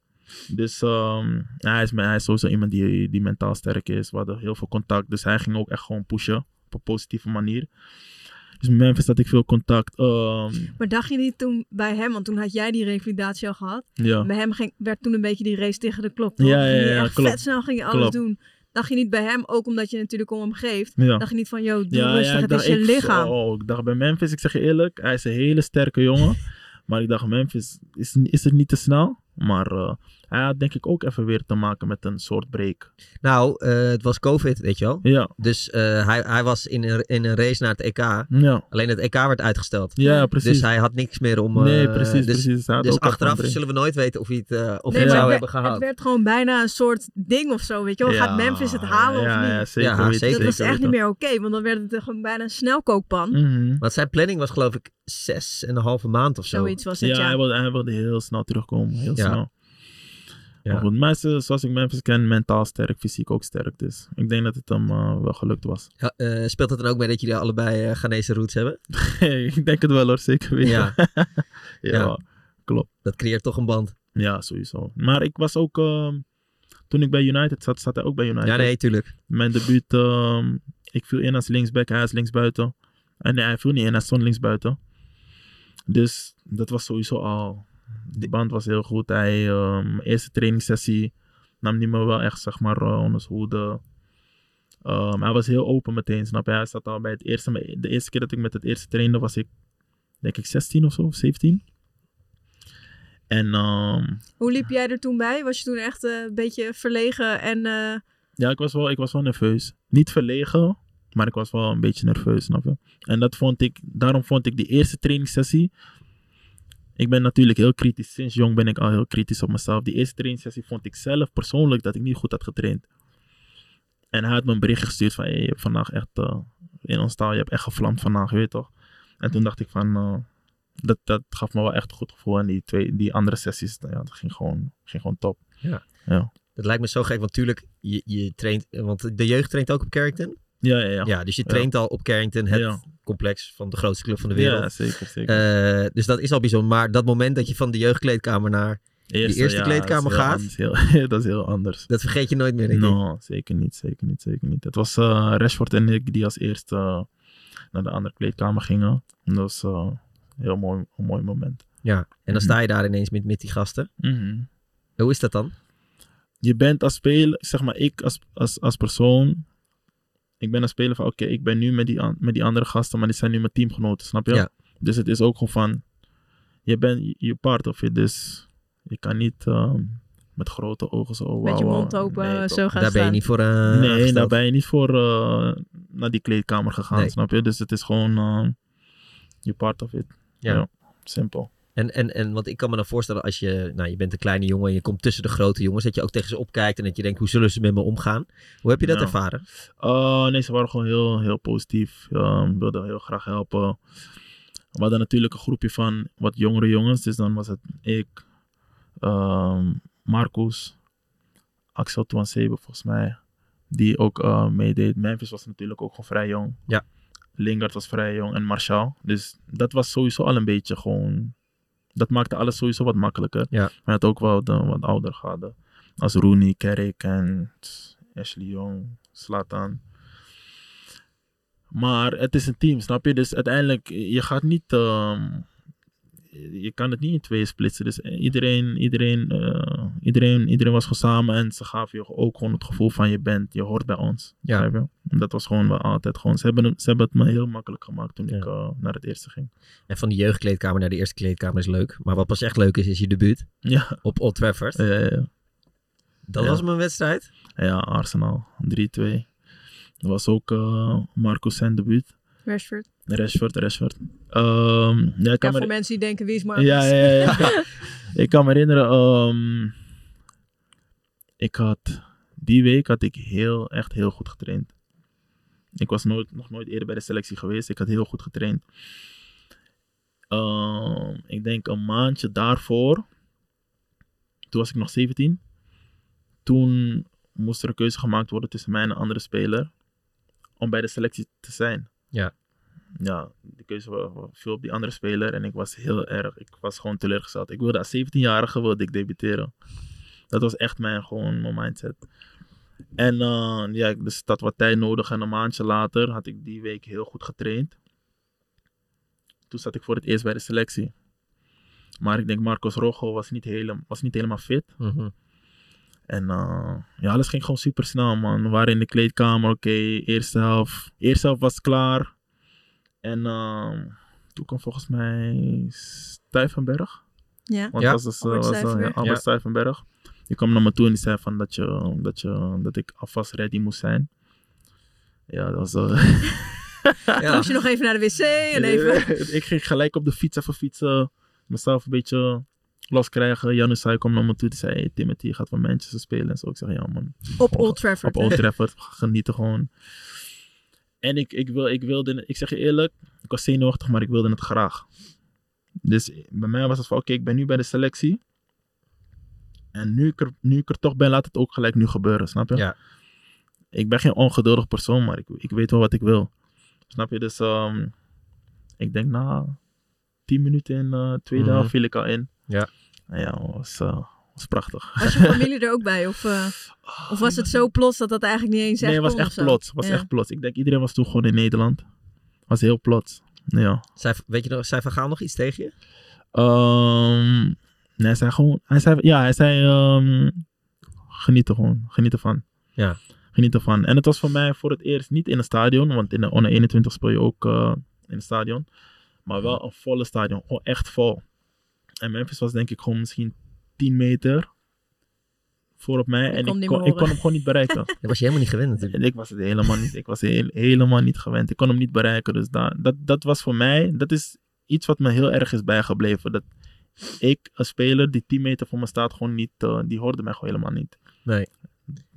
S6: Dus ehm, hij, is, me- hij is sowieso iemand die, die mentaal sterk is. We hadden heel veel contact. Dus hij ging ook echt gewoon pushen. Op een positieve manier. Dus met Memphis had ik veel contact. Ehm,
S2: Maar dacht je niet toen bij hem, want toen had jij die revalidatie al gehad.
S6: ja.
S2: Bij hem ging, werd toen een beetje die race tegen de klok. toch?
S6: Ja, ja,
S2: Ging je
S6: ja,
S2: echt
S6: klopt.
S2: vet snel ging je alles
S6: Klopt.
S2: doen. Dacht je niet bij hem, ook omdat je natuurlijk om hem geeft.
S6: ja.
S2: Dacht je niet van, joh, doe
S6: ja,
S2: rustig,
S6: ik
S2: het is
S6: dacht
S2: je
S6: ik-
S2: lichaam.
S6: Oh, ik dacht bij Memphis, ik zeg je eerlijk, hij is een hele sterke jongen.
S2: <laughs>
S6: maar ik dacht, Memphis, is, is het niet te snel? Maar eh, hij had denk ik ook even weer te maken met een soort break.
S4: Nou, eh, het was COVID, weet je wel.
S6: Ja,
S4: Dus eh, hij, hij was in een, in een race naar het EK.
S6: ja,
S4: Alleen het EK werd uitgesteld.
S6: ja precies.
S4: Dus hij had niks meer om... eh,
S6: nee, precies,
S4: dus,
S6: precies. Hij had
S4: Dus
S6: ook echt een
S4: achteraf
S6: break.
S4: zullen we nooit weten of hij het, eh, of
S2: Nee,
S4: hij het
S2: maar
S4: zou
S2: het
S4: hebben
S2: werd-
S4: gehaald.
S2: Het werd gewoon bijna een soort ding of zo, weet je wel.
S6: Ja,
S2: Gaat Memphis het halen
S6: ja,
S2: of niet?
S6: Ja, zeker
S4: Ja,
S6: weten,
S4: zeker
S2: dat was
S6: zeker
S2: echt niet
S6: weten.
S2: meer oké, want dan werd het gewoon bijna een snelkookpan.
S6: Mhm.
S4: Want zijn planning was geloof ik zes en een halve maand of zo.
S2: Zoiets was het,
S6: Ja,
S2: ja.
S6: hij wilde, hij wilde heel snel terugkomen. Heel
S4: Ja.
S6: snel.
S4: Ja.
S6: Maar goed, mensen zoals ik Memphis ken, mentaal sterk, fysiek ook sterk. Dus ik denk dat het hem eh, wel gelukt was. <laughs>
S4: Ja, eh, speelt het dan ook mee dat jullie allebei eh, Ghanese roots hebben?
S6: ik denk het wel hoor, zeker weer.
S4: Ja.
S6: <laughs> ja.
S4: Ja.
S6: klopt.
S4: Dat creëert toch een band.
S6: Ja, sowieso. Maar ik was ook, ehm, toen ik bij United zat, zat hij ook bij United.
S4: Ja, nee, tuurlijk.
S6: Mijn debuut, ehm, ik viel in als linksback, hij is linksbuiten. En nee, hij viel niet in, hij stond linksbuiten. Dus dat was sowieso al. De band was heel goed. Hij, ehm, eerste trainingssessie nam hij me wel echt, zeg maar, eh, onder zijn hoede. Ehm, hij was heel open meteen, snap je? Hij zat al bij het eerste, maar de eerste keer dat ik met het eerste trainde was ik, denk ik, 16 of zo, of 17. En ehm,
S2: Hoe liep jij er toen bij? Was je toen echt eh, een beetje verlegen en... eh,
S6: Ja, ik was, wel, ik was wel nerveus. Niet verlegen, maar ik was wel een beetje nerveus, snap je? En dat vond ik, daarom vond ik die eerste trainingssessie. Ik ben natuurlijk heel kritisch. Sinds jong ben ik al heel kritisch op mezelf. Die eerste trainingssessie vond ik zelf persoonlijk dat ik niet goed had getraind. En hij had me een bericht gestuurd van, hey, je hebt vandaag echt, eh, in ons taal, je hebt echt gevlamd vandaag, je weet toch? En toen dacht ik van, eh, dat, dat gaf me wel echt een goed gevoel. En die, twee, die andere sessies, nou ja, dat ging gewoon, ging gewoon top.
S4: Dat lijkt me zo gek, want tuurlijk, je, je traint... Want de jeugd traint ook op Carrington.
S6: Ja, ja, ja.
S4: Ja, dus je traint al op Carrington, het
S6: Ja.
S4: complex van de grootste club van de wereld.
S6: Ja, zeker, zeker.
S4: Eh, dus dat is al bijzonder. Maar dat moment dat je van de jeugdkleedkamer naar... Die eerste kleedkamer
S6: dat is heel
S4: gaat.
S6: anders, heel- <laughs> dat is heel anders.
S4: Dat vergeet je nooit meer, denk ik.
S6: No, zeker niet, zeker niet, zeker niet. Het was eh Rashford en ik die als eerste eh, naar de andere kleedkamer gingen. En dat was eh, een heel mooi, een mooi moment.
S4: Ja. En dan sta je daar ineens met, met die gasten. Hoe is dat dan?
S6: Je bent als speler, zeg maar ik als, als, als persoon, ik ben als speler van oké, ik ben nu met die, an- met die andere gasten, maar die zijn nu mijn teamgenoten, snap je?
S4: Ja.
S6: Dus het is ook gewoon van, je bent je part of it, dus je kan niet eh, met grote ogen zo...
S2: met je
S6: wauw,
S2: mond
S6: wauw.
S2: open
S6: Nee,
S2: eh,
S6: toch.
S2: zo gaan
S4: daar ben je
S2: staan.
S4: niet voor eh
S6: nee, nou,
S4: aangesteld.
S6: daar ben je niet voor eh, naar die kleedkamer gegaan,
S4: Nee.
S6: snap je? Dus het is gewoon je part of it.
S4: Ja.
S6: Simpel.
S4: En, en, en want ik kan me dan voorstellen als je, nou je bent een kleine jongen en je komt tussen de grote jongens, dat je ook tegen ze opkijkt en dat je denkt, hoe zullen ze met me omgaan? Hoe heb je dat
S6: Nou.
S4: ervaren?
S6: Eh, nee, ze waren gewoon heel, heel positief. eh, wilden heel graag helpen. We hadden natuurlijk een groepje van wat jongere jongens. Dus dan was het ik, ehm Marcus, Axel Twansebe volgens mij. Die ook eh, meedeed. Memphis was natuurlijk ook gewoon vrij jong.
S4: Ja.
S6: Lingard was vrij jong en Martial. Dus dat was sowieso al een beetje gewoon... Dat maakte alles sowieso wat makkelijker.
S4: Ja.
S6: Maar het ook wel de, wat ouder gehad. eh, Als Rooney, Kerk en Ashley Young, Slatan. Maar het is een team, snap je? Dus uiteindelijk, je gaat niet... ehm, je kan het niet in tweeën splitsen. Dus iedereen, iedereen, eh, iedereen, iedereen was gewoon samen en ze gaven je ook gewoon het gevoel van je bent, je hoort bij ons.
S4: Ja.
S6: Begrijp je? En dat was gewoon wel altijd gewoon. Ze hebben, het- ze hebben het me heel makkelijk gemaakt toen
S4: Ja.
S6: ik eh, naar het eerste ging.
S4: En van die jeugdkleedkamer naar de eerste kleedkamer is leuk. Maar wat pas echt leuk is, is je debuut
S6: Ja,
S4: op Old Trafford.
S6: eh,
S4: Dat
S6: ja.
S4: was mijn wedstrijd.
S6: ja Arsenal 3-2. Dat was ook eh Marco zijn debuut.
S2: Rashford.
S6: Rashford, Rashford. Ehm, ja, ik
S2: Ja,
S6: kan me-
S2: voor mensen die denken, wie is Marcus?
S6: Ja, ja, ja. ja. ik kan me herinneren, ehm, ik had, die week had ik heel, echt heel goed getraind. Ik was nooit, nog nooit eerder bij de selectie geweest. Ik had heel goed getraind. Ehm, ik denk een maandje daarvoor, toen was ik nog 17. Toen moest er een keuze gemaakt worden tussen mij en een andere speler om bij de selectie te zijn.
S4: Ja.
S6: Ja, de keuze wa- wa- viel op die andere speler en ik was heel erg, ik was gewoon teleurgesteld. Ik wilde als 17-jarige wilde ik debuteren. Dat was echt mijn, gewoon mijn mindset. En eh, ja, ik- dus dat wat tijd nodig en een maandje later had ik die week heel goed getraind. Toen zat ik voor het eerst bij de selectie. Maar ik denk Marcos Rojo was niet, hele, was niet helemaal fit. <laughs>
S4: Mhm.
S6: En eh, ja, alles ging gewoon super snel, man. We waren in de kleedkamer, oké, eerste helft. Eerste helft was klaar. En eh, toen kwam volgens mij Stuyvenberg.
S2: Ja.
S6: Want
S4: Ja,
S6: was dus, eh,
S2: Albert
S6: was, eh,
S2: Stuyvenberg.
S6: Albert
S4: Ja.
S6: Stuyvenberg. Die kwam naar me toe en die zei van dat, je, dat, je, dat ik alvast ready moest zijn. Ja, dat was... eh, Ah.
S4: Ja.
S2: Moest je nog even naar de wc en
S6: <laughs>
S2: even...
S6: ik ging gelijk op de fiets even fietsen. Mezelf een beetje loskrijgen. Janus zei, kwam naar me toe. Die zei, hey, Timothy, je gaat van Manchester spelen. En zo, ik zeg, ja man.
S2: Op Old Trafford.
S6: Op Old Trafford. Genieten gewoon. En ik, ik, wil, ik wilde, ik zeg je eerlijk, ik was zenuwachtig, maar ik wilde het graag. Dus bij mij was het van, oké, ik ben nu bij de selectie. En nu ik, er, nu ik er toch ben, laat het ook gelijk nu gebeuren, snap je?
S4: Ja.
S6: Ik ben geen ongeduldig persoon, maar ik, ik weet wel wat ik wil. Snap je? Dus ehm, ik denk na 10 minuten in eh tweede
S4: Mhm.
S6: helft viel ik al in.
S4: Ja.
S6: En ja, was, eh, was prachtig.
S2: Was je familie er ook bij? Of, eh, of was het zo plots dat dat eigenlijk niet eens echt
S6: Nee, het was
S2: kon of
S6: echt
S2: zo?
S6: plots. was
S2: Ja.
S6: echt plots. Ik denk iedereen was toen gewoon in Nederland. was heel plots. Ja.
S4: Zij, weet je nog, zij van Gaal nog iets tegen je?
S6: Ehm, nee, hij zei gewoon... Hij zei, ja, hij zei... ehm, geniet er gewoon. Geniet ervan.
S4: Ja.
S6: Geniet ervan. En het was voor mij voor het eerst niet in een stadion. Want in de onder 21 speel je ook eh, in een stadion. Maar wel een volle stadion. Gewoon echt vol. En Memphis was denk ik gewoon misschien 10 meter voor op mij.
S2: Je
S6: en
S2: kon
S6: ik
S2: niet
S6: kon,
S2: meer
S6: ik kon
S2: horen.
S6: hem gewoon niet bereiken.
S2: <laughs>
S4: Dat was je helemaal niet gewend natuurlijk.
S6: En ik was het helemaal niet. Ik was heel, helemaal niet gewend. Ik kon hem niet bereiken. Dus da- dat, dat was voor mij, dat is iets wat me heel erg is bijgebleven. Dat ik, een speler die 10 meter voor me staat, gewoon niet, eh, die hoorde mij gewoon helemaal niet.
S4: Nee.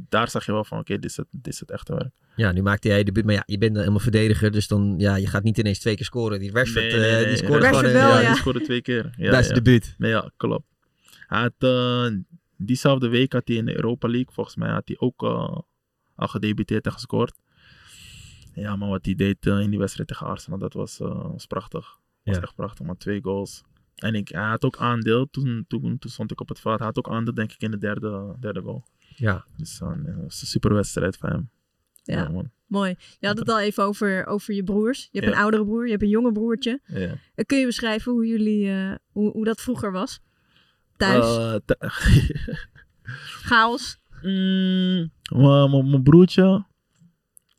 S6: Daar zag je wel van, oké, dit, is het- dit is het echte werk.
S4: Ja, nu maakte jij je debuut. Maar ja, je bent dan helemaal verdediger. Dus dan, ja, je gaat niet ineens twee keer scoren. Die Rashford,
S6: Nee,
S4: eh,
S6: nee, nee,
S4: die scoorde
S2: Rashford
S4: gewoon... eh,
S2: wel,
S6: ja,
S4: ja,
S6: die scoorde twee keer. Ja,
S4: Dat is
S6: ja.
S4: debuut.
S6: Nee, ja, klopt. Hij had, eh, diezelfde week had hij in de Europa League, volgens mij, had hij ook eh, al gedebuteerd en gescoord. Ja, maar wat hij deed eh, in die wedstrijd tegen Arsenal, dat was, eh, was prachtig. was
S4: Ja.
S6: echt prachtig, maar twee goals. En ik, hij had ook aandeel, toen, toen, toen stond ik op het veld, hij had ook aandeel denk ik in de derde, derde goal.
S4: Ja.
S6: Dus eh, nee, dat was een super wedstrijd van hem.
S2: Ja.
S6: man.
S2: Mooi. Je had het al even over, over je broers. Je hebt
S6: Ja.
S2: een oudere broer, je hebt een jonge broertje.
S6: Ja.
S2: Eh, Kun je beschrijven hoe, jullie, eh, hoe, hoe dat vroeger was? Thuis,
S6: Eh, th- <laughs>
S2: chaos.
S6: Mm, maar mijn mijn broertje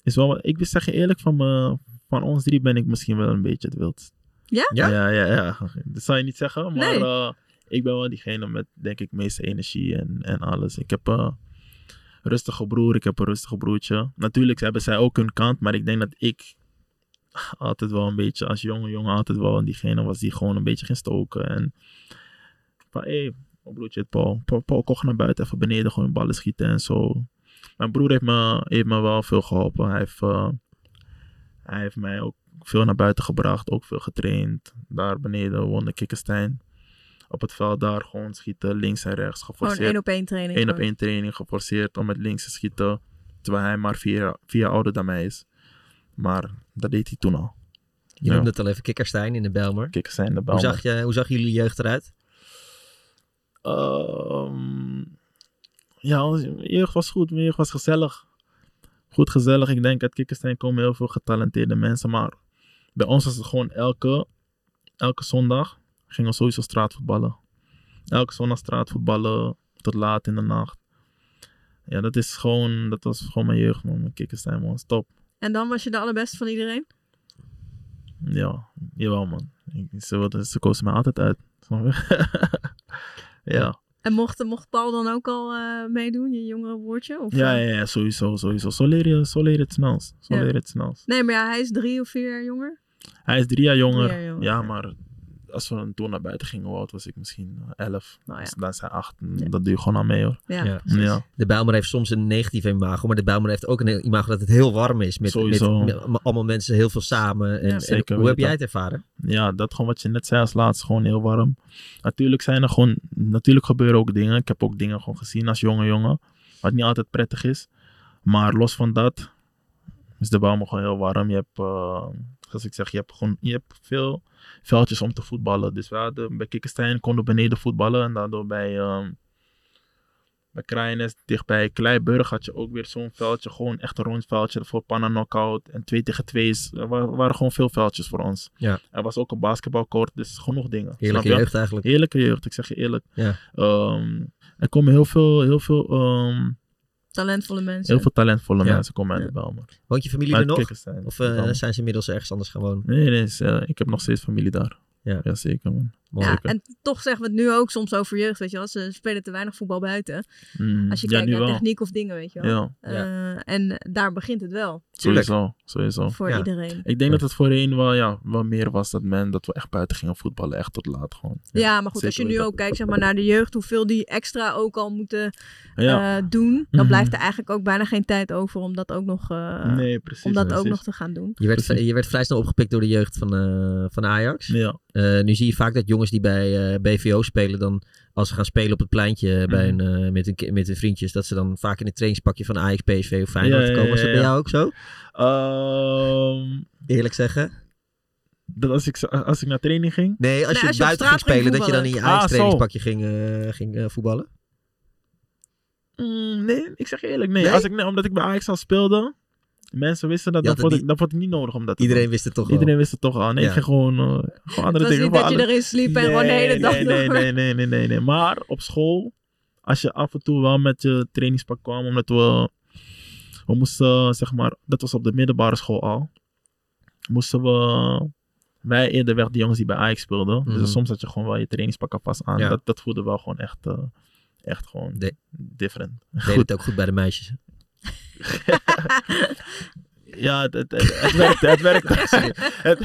S6: is wel wat. Ik wil zeggen eerlijk, van, me, van ons drie ben ik misschien wel een beetje het wild.
S2: Ja?
S4: Ja?
S6: Ja, ja, ja. Dat zou je niet zeggen, maar
S2: Nee.
S6: eh, ik ben wel diegene met, denk ik, meeste energie en, en alles. Ik heb eh, een rustige broer, ik heb een rustige broertje. Natuurlijk hebben zij ook hun kant, maar ik denk dat ik altijd wel een beetje, als jonge jongen, altijd wel diegene was die gewoon een beetje ging stoken. En van, hé, hey, mijn broertje heet Paul. Paul, Paul kocht naar buiten, even beneden gewoon ballen schieten en zo. Mijn broer heeft me, heeft me wel veel geholpen. Hij heeft, eh, hij heeft mij ook veel naar buiten gebracht, ook veel getraind. Daar beneden woonde Kikkenstein. Op het veld daar gewoon schieten, links en rechts,
S2: Gewoon
S6: geforceerd.
S2: Oh, één op één training.
S6: Eén op
S2: gewoon.
S6: één training geforceerd om met links te schieten. Terwijl hij maar vier, jaar- vier jaar ouder dan mij is. Maar dat deed hij toen al.
S4: Je
S6: Ja.
S4: noemde het al even Kikkerstein in de Belmer.
S6: Kikkenstein, de bal.
S4: Hoe zag, je, hoe zag jullie jeugd eruit?
S6: Ehm, ja, onze jeugd was goed. Mijn jeugd was gezellig. Goed gezellig. Ik denk uit Kikkerstein komen heel veel getalenteerde mensen. Maar bij ons was het gewoon elke, elke zondag gingen we sowieso straatvoetballen. Elke zondag straatvoetballen tot laat in de nacht. Ja, dat is gewoon, dat was gewoon mijn jeugd, man. Mijn kikkerstijl, man. Stop.
S2: En dan was je de allerbeste van iedereen?
S6: Ja, jawel, man. Ik, ze, wilden- ze kozen mij altijd uit. snap je? <laughs> ja.
S2: En mocht, mocht Paul dan ook al eh, meedoen, je jongere woordje? Of,
S6: Ja,
S2: eh,
S6: ja, ja, sowieso, sowieso. Zo leer je, zo leer je het snelst. Zo
S2: Ja.
S6: leer je het snelst.
S2: Nee, maar ja, hij is drie of vier jaar jonger.
S6: Hij is drie jaar jonger.
S2: Drie jaar jonger.
S6: Ja, maar als we dan toen naar buiten gingen, hoe oud was ik misschien? Eh, Elf.
S2: Nou ja.
S6: Dus dan zijn acht. Dat doe je gewoon aan mee, hoor.
S2: Ja,
S4: Ja.
S2: precies.
S6: Ja.
S4: De Bijlmer heeft soms een negatief imago, maar de Bijlmer heeft ook een imago dat het heel warm is. Met, met,
S6: Sowieso.
S4: met allemaal mensen, heel veel samen. En, en
S6: Zeker,
S4: hoe
S6: weet
S4: heb
S6: je
S4: jij het ervaren?
S6: ja, dat gewoon wat je net zei als laatst, gewoon heel warm. Natuurlijk zijn er gewoon, natuurlijk gebeuren ook dingen. Ik heb ook dingen gewoon gezien als jonge jongen, wat niet altijd prettig is. Maar los van dat is de bouw gewoon heel warm. Je hebt, eh, zoals ik zeg, je hebt gewoon, je hebt veel veldjes om te voetballen. Dus we hadden, bij Kikkenstein konden we beneden voetballen en daardoor bij, ehm bij Kraaienest, dichtbij Kleiburg had je ook weer zo'n veldje. Gewoon echt een rond veldje voor Panna Knockout en 2 tegen 2's. Er wa- waren gewoon veel veldjes voor ons. Er was ook een basketbalcourt, dus genoeg dingen.
S4: Heerlijke
S6: snap je?
S4: jeugd eigenlijk.
S6: Heerlijke jeugd, ik zeg je eerlijk.
S4: Ja.
S6: Ehm, er komen heel veel, heel veel, ehm,
S2: Talentvolle mensen.
S6: heel veel talentvolle
S4: Ja.
S6: mensen komen uit de Bijlmer.
S4: Woont je familie
S6: Maar
S4: er nog?
S6: kikkers zijn.
S4: Of eh,
S6: Bijlmer.
S4: zijn ze inmiddels ergens anders gaan wonen?
S6: Nee, nee, is, eh, ik heb nog steeds familie daar.
S4: Ja.
S6: zeker man.
S4: Mooi.
S2: ja,
S6: zeker.
S2: en toch zeggen we het nu ook soms over jeugd, weet je wel. Ze spelen te weinig voetbal buiten.
S6: Mm,
S2: Als je
S6: ja,
S2: kijkt
S6: nu
S2: naar
S6: wel.
S2: techniek of dingen, weet je wel.
S6: Ja,
S2: Eh, en daar begint het wel,
S4: tuurlijk.
S6: sowieso, sowieso.
S2: voor
S4: Ja.
S2: iedereen.
S6: Ik denk dat het voorheen wel, ja, wel meer was dat men, dat we echt buiten gingen voetballen, echt tot laat gewoon.
S2: Ja, maar goed, als je
S6: zeker
S2: nu
S6: weten.
S2: ook kijkt zeg maar, naar de jeugd, hoeveel die extra ook al moeten
S6: Ja,
S2: eh, doen, dan
S6: Mhm.
S2: blijft er eigenlijk ook bijna geen tijd over om dat ook nog, eh,
S6: nee, precies.
S2: om dat ook
S6: precies.
S2: nog te gaan doen.
S4: Je werd,
S6: Precies.
S4: je werd vrij snel opgepikt door de jeugd van, eh, van Ajax.
S6: Ja,
S4: Eh, nu zie je vaak dat jongens die bij eh, BVO spelen, dan als ze gaan spelen op het pleintje bij
S6: Mhm.
S4: hun, eh, met, hun, ki- met hun vriendjes, dat ze dan vaak in het trainingspakje van Ajax, PSV of Feyenoord
S6: Ja, ja,
S4: komen. Was
S6: ja,
S4: dat bij
S6: ja.
S4: jou ook zo?
S6: Ehm,
S4: Eerlijk zeggen.
S6: dat als, ik, als ik naar training ging,
S4: Nee, als
S2: Nee,
S4: je
S2: als je op
S4: buiten
S2: straat
S4: ging
S2: ging
S4: spelen, dat je dan in je Ajax
S6: Ah, zo. Ah.
S4: trainingspakje ging, eh, ging eh, voetballen.
S6: Mm, nee, ik zeg je eerlijk, nee.
S4: Nee?
S6: Als ik, nee, omdat ik bij Ajax al speelde, mensen wisten dat,
S4: Je
S6: dan
S4: had het
S6: vond, ik, dan vond ik niet nodig om dat te
S4: Iedereen
S6: doen.
S4: wist het toch
S6: Iedereen
S4: wel.
S6: wist het toch al. Nee,
S4: Ja.
S6: ik ging gewoon, eh, gewoon
S2: Het
S6: andere
S2: was
S6: dingen.
S2: niet
S6: gewoon
S2: dat je
S6: andere-
S2: erin sliep en gewoon de hele dag
S6: nee,
S2: door.
S6: nee, nee, nee, nee, nee, nee. Maar op school, als je af en toe wel met je trainingspak kwam, omdat we, we moesten, zeg maar, dat was op de middelbare school al, moesten we, wij eerder weg, die jongens die bij Ajax speelden.
S4: Mhm.
S6: Dus soms had je gewoon wel je trainingspak alvast aan.
S4: Ja.
S6: Dat, dat voelde wel gewoon echt, eh, echt gewoon
S4: De-
S6: different.
S4: Deed het ook goed bij de meisjes.
S6: Ja, het, het, het, het werkte, het
S4: <laughs>
S6: werkte. het,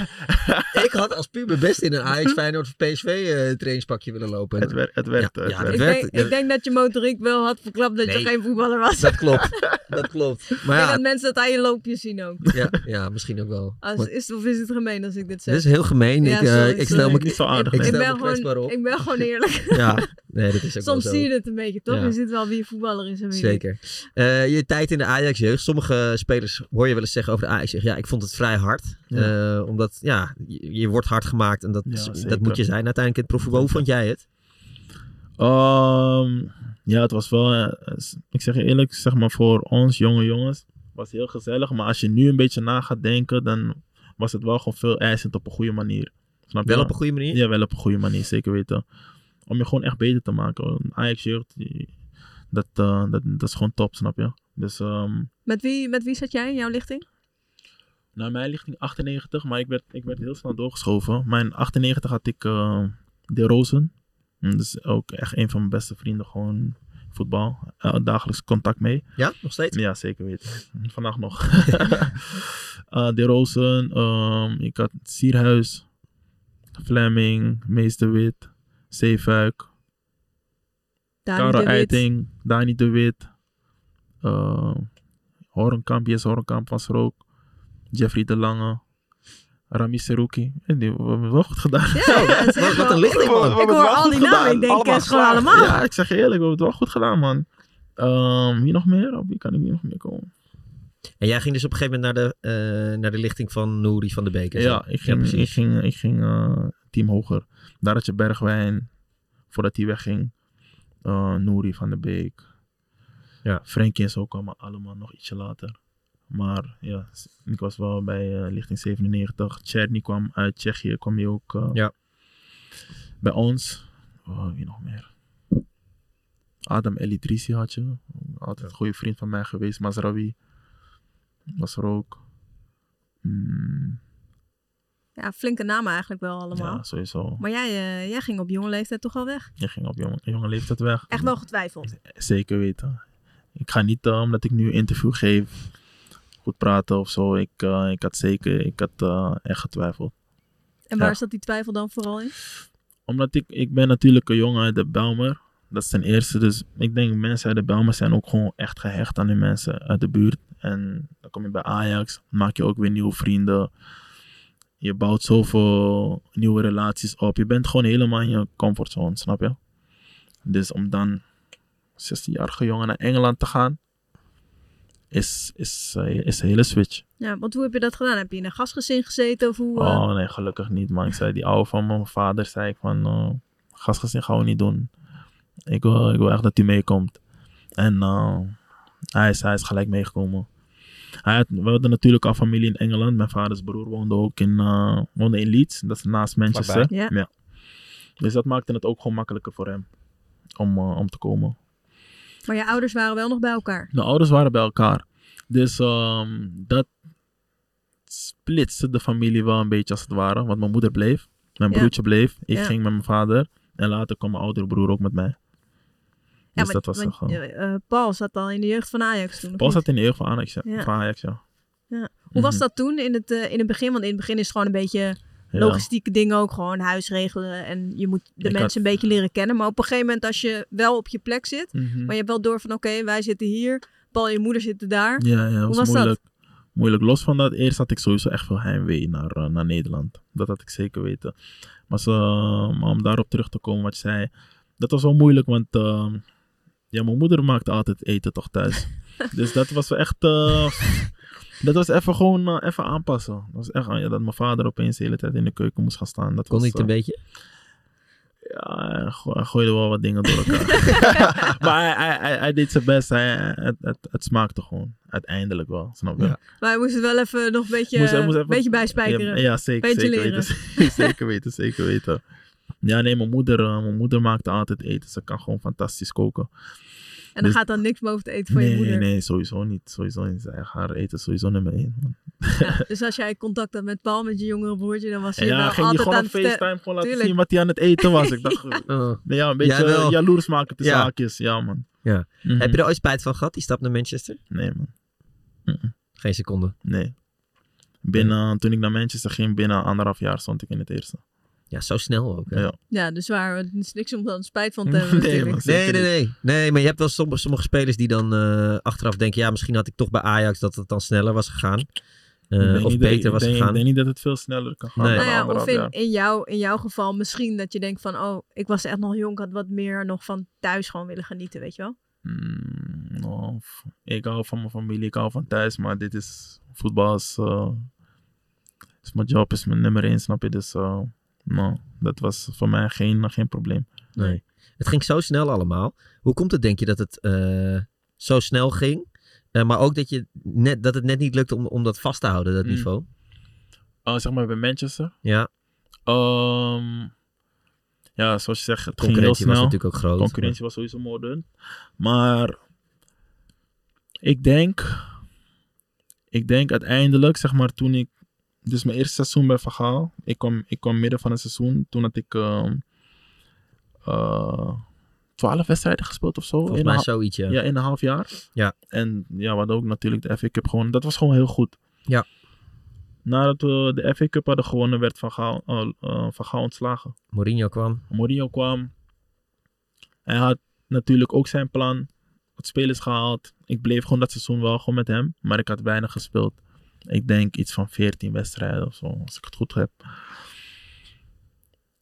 S4: ik had als puber best in een Ajax, Feyenoord of PSV eh, trainingspakje willen lopen.
S6: het, wer- het werkte.
S4: Ja,
S6: het
S4: ja,
S2: <laughs>
S6: werkte.
S2: Ik,
S4: werkt.
S2: denk, ik denk dat je motoriek wel had verklapt dat
S4: Nee.
S2: je geen voetballer was.
S4: Dat
S6: <laughs>
S4: klopt. dat klopt. Maar
S2: En
S4: ja,
S2: dat mensen dat aan je loopje zien ook.
S4: ja, ja, misschien ook wel.
S2: Als,
S4: Maar
S2: is, of is het gemeen als ik dit zeg?
S4: dit is heel gemeen.
S2: Ja,
S4: ik, eh,
S2: sorry,
S4: ik
S2: sorry.
S4: stel me
S6: niet zo
S4: ik
S6: aardig.
S2: ik,
S6: nee.
S4: stel me
S2: ben
S4: kwetsbaar
S2: gewoon,
S4: op.
S2: ik
S4: <laughs>
S2: ben gewoon eerlijk.
S4: Ja, nee, dat is ook
S2: Soms
S4: wel
S2: zie
S4: zo.
S2: je het een beetje, toch?
S4: Ja.
S2: Je ziet wel wie voetballer is en wie niet.
S4: Zeker. Eh, je tijd in de Ajax-jeugd. Sommige spelers hoor je wel eens zeggen over de Ajax-jeugd. Ja, ik vond het vrij hard.
S6: Ja.
S4: Eh, omdat, ja, je, je wordt hard gemaakt. En dat,
S6: Ja,
S4: dat
S6: zeker.
S4: moet je zijn uiteindelijk in het profvoetbal. Hoe vond jij het?
S6: Ehm, ja, het was wel. eh, s- ik zeg je eerlijk, zeg maar voor ons jonge jongens. Was heel gezellig. Maar als je nu een beetje na gaat denken, dan was het wel gewoon veel eisend op een goede manier. Snap je?
S4: Wel op een goede manier?
S6: Ja, wel op een goede manier, zeker weten. Om je gewoon echt beter te maken. Ajax jeugd, die- dat, eh, dat, dat is gewoon top, snap je? Dus ehm
S2: Met wie, met wie zat jij in jouw lichting?
S6: naar mijn lichting 98, maar ik werd, ik werd heel snel doorgeschoven. Mijn 98 had ik eh, De Rozen. En Dat is ook echt een van mijn beste vrienden, gewoon voetbal. Eh, dagelijks contact mee.
S4: Ja, nog steeds?
S6: Ja, zeker weten. <laughs> Vandaag nog. Eh, de Rozen, ehm, ik had Sierhuis, Fleming, Meester Wit, Zeefuik,
S2: Dani
S6: Karel
S2: de Wit.
S6: Eiting, Dani de Wit, eh, Horenkamp, Jes Horenkamp van Srook, Jeffrey de Lange, Rami Seruki. En die hebben we wel goed gedaan. <laughs>
S2: Ja, ja, het is
S4: Wat,
S2: echt
S4: wat
S2: wel-
S4: een lichting,
S6: We
S4: man.
S6: hebben
S2: Ik
S6: het
S2: hoor
S6: wel
S2: al
S6: goed
S2: die namen.
S6: gedaan.
S2: Ik denk, het is gewoon
S6: geslaagd.
S2: allemaal.
S6: Ja, ik zeg je eerlijk, we hebben het wel goed gedaan, man. Ehm, wie nog meer? Op wie kan ik hier nog meer komen?
S4: En jij ging dus op een gegeven moment naar de, eh, naar de lichting van Nouri van de Beek. en zo. Mm.
S6: Ja, ik ging, ik ging, ik ging eh, team hoger. Daar had je Bergwijn, voordat hij wegging. eh Nouri van de Beek.
S4: Ja.
S6: Frenkie en zo kwamen allemaal nog ietsje later. Maar ja, s- ik was wel bij eh, lichting 97. Tjerni kwam uit Tsjechië, kwam hij ook. eh,
S4: Ja.
S6: bij ons. Oh, wie nog meer? Adam El Idrissi had je. Altijd een goede vriend van mij geweest. Mazraoui was er ook. Mm,
S2: Ja, flinke namen eigenlijk wel allemaal.
S6: ja, sowieso.
S2: Maar jij, eh, jij ging op jonge leeftijd toch al weg?
S6: Je ging op jonge, jonge leeftijd weg.
S2: Echt wel getwijfeld.
S6: Zeker weten. Ik ga niet, eh, omdat ik nu een interview geef, goed praten of zo. Ik, eh, ik had zeker, ik had eh, echt getwijfeld.
S2: En waar
S6: Ja.
S2: zat die twijfel dan vooral in?
S6: Omdat ik, ik ben natuurlijk een jongen uit de Belmer. Dat is ten eerste. Dus ik denk mensen uit de Belmer zijn ook gewoon echt gehecht aan die mensen uit de buurt. En dan kom je bij Ajax, maak je ook weer nieuwe vrienden. Je bouwt zoveel nieuwe relaties op. Je bent gewoon helemaal in je comfortzone, snap je? Dus om dan 16-jarige jongen naar Engeland te gaan, is, is, eh, is een hele switch.
S2: Ja, want hoe heb je dat gedaan? Heb je in een gastgezin gezeten of hoe? eh,
S6: Oh nee, gelukkig niet. Maar ik zei, die oude van mijn vader zei ik van, eh gastgezin gaan we niet doen. Ik wil, ik wil echt dat u meekomt. En eh, hij, is, hij is gelijk meegekomen. Hij had, we hadden natuurlijk al familie in Engeland. Mijn vaders broer woonde ook in, eh, woonde in Leeds. Dat is naast Manchester.
S2: Vlakbij.
S6: Dus dat maakte het ook gewoon makkelijker voor hem om, eh, om te komen.
S2: eh, Maar je ouders waren wel nog bij elkaar.
S6: Mijn ouders waren bij elkaar. Dus ehm, dat splitste de familie wel een beetje als het ware. Want mijn moeder bleef, mijn
S2: Ja.
S6: broertje bleef, ik
S2: Ja.
S6: ging met mijn vader. En later kwam mijn oudere broer ook met mij.
S2: Ja,
S6: Dus
S2: maar-
S6: dat was
S2: want,
S6: echt gewoon.
S2: eh, eh, Paul zat al in de jeugd van Ajax toen. of
S6: Paul
S2: niet?
S6: zat in de eeuw van Ajax, ja.
S2: Ja.
S6: Van Ajax, ja.
S2: Hoe was
S6: Mhm.
S2: dat toen in het, eh, in het begin? Want in het begin is het gewoon een beetje
S6: Ja.
S2: logistieke dingen ook. Gewoon huis regelen en je moet de
S6: Ik
S2: mensen
S6: had-
S2: een beetje leren kennen. Maar op een gegeven moment als je wel op je plek zit.
S6: Mhm.
S2: Maar je hebt wel door van oké, wij zitten hier. Paul en je moeder zitten daar.
S6: Ja, ja, was
S2: was dat?
S6: moeilijk. Moeilijk. Los van dat, eerst had ik sowieso echt veel heimwee naar, eh, naar Nederland. Dat had ik zeker weten. Maar, zo, eh, maar om daarop terug te komen wat je zei, dat was wel moeilijk, want eh, ja, mijn moeder maakte altijd eten toch thuis. dus dat was wel echt, eh, dat was even gewoon eh, even aanpassen. Dat was echt eh, ja, dat mijn vader opeens de hele tijd in de keuken moest gaan staan. Dat
S4: Kon
S6: was,
S4: ik het een
S6: eh,
S4: beetje?
S6: ja, hij go- hij gooide wel wat dingen door elkaar. <laughs> maar hij, hij, hij, hij deed zijn best. Hij, hij- het, het, het smaakte gewoon. Uiteindelijk wel, snap je?
S4: Ja.
S2: Maar hij moest het wel even nog een beetje,
S6: Moest- hij moest even-
S2: beetje bijspijkeren.
S6: Ja, ja, zeker,
S2: Beetje
S6: zeker
S2: leren.
S6: weten. <laughs> zeker weten, zeker weten. Ja, nee, mijn moeder, eh, mijn moeder maakte altijd eten. Ze kan gewoon fantastisch koken.
S2: En dan
S6: dus-
S2: gaat dan niks boven het eten van je
S6: Nee,
S2: moeder.
S6: nee, sowieso niet. Sowieso niet. Zij- Haar eten is sowieso nummer één. man.
S2: Ja, dus als jij contact had met Paul, met je jongere broertje, dan was
S6: En
S2: hij
S6: ja,
S2: wel
S6: ging die
S2: altijd
S6: gewoon
S2: aan
S6: op
S2: het vertellen.
S6: FaceTime gewoon laten
S2: Tuurlijk.
S6: zien wat hij aan het eten was. Ik
S2: <laughs>
S6: dacht,
S4: Oh.
S6: nee, ja, een beetje
S4: Jawel.
S6: eh, jaloers maken tussen
S4: Ja.
S6: haakjes. Ja, man.
S4: Ja.
S6: Mhm.
S4: Heb je er ooit spijt van gehad, die stap naar Manchester?
S6: Nee, man.
S4: Geen seconde.
S6: Nee. Binnen, toen ik naar Manchester ging, binnen anderhalf jaar stond ik in het eerste.
S4: Ja, zo snel ook. hè.
S6: Ja.
S2: Ja, dus waar. Het is niks om dan spijt van
S6: <laughs>
S2: te hebben
S6: Nee,
S2: natuurlijk.
S6: man.
S4: Nee,
S6: Zeker
S4: nee, nee. Nee, maar je hebt wel sommige, sommige spelers die dan eh, achteraf denken... ja, misschien had ik toch bij Ajax dat het dan sneller was gegaan. Eh,
S6: Ik denk
S4: of
S6: niet dat-
S4: beter
S6: ik
S4: was
S6: denk,
S4: gegaan.
S6: Ik denk niet dat het veel sneller kan gaan.
S4: Nee.
S6: dan
S2: Nou ja, of
S6: anderhalf
S2: in,
S6: jaar.
S2: in, jou, in jouw geval misschien dat je denkt van... oh, ik was echt nog jong, ik had wat meer nog van thuis gewoon willen genieten, weet je wel?
S6: Mm, nou, f- ik hou van mijn familie, ik hou van thuis, maar dit is voetbal is, eh, is mijn job, is mijn nummer één, snap je? Dus eh, nou, dat was voor mij geen, geen probleem.
S4: Nee. Het ging zo snel allemaal. Hoe komt het, denk je, dat het eh, zo snel ging? Eh, maar ook dat, je net, dat het net niet lukte om, om dat vast te houden, dat
S6: Mm.
S4: niveau.
S6: Eh, zeg maar bij Manchester.
S4: Ja,
S6: Ehm, ja, zoals je zegt, het ging heel
S4: concurrentie was
S6: snel.
S4: natuurlijk ook groot.
S6: Concurrentie was sowieso moordend. Maar ik denk, ik denk uiteindelijk, zeg maar, toen ik, dus mijn eerste seizoen bij Vergaal, ik kwam, ik kwam midden van het seizoen, toen had ik ehm eh, 12 wedstrijden gespeeld of zo.
S4: Volgens
S6: in een
S4: mij
S6: ha-
S4: zoiets, ja.
S6: ja, in een half jaar.
S4: Ja.
S6: En ja, we hadden ook natuurlijk de FA Cup gewonnen. Dat was gewoon heel goed.
S4: Ja.
S6: Nadat we de FA Cup hadden gewonnen, werd Van Gaal, eh, eh, van Gaal ontslagen.
S4: Mourinho kwam.
S6: Mourinho kwam. Hij had natuurlijk ook zijn plan. Wat spelers gehaald. Ik bleef gewoon dat seizoen wel gewoon met hem. Maar ik had weinig gespeeld. Ik denk iets van 14 wedstrijden of zo. Als ik het goed heb.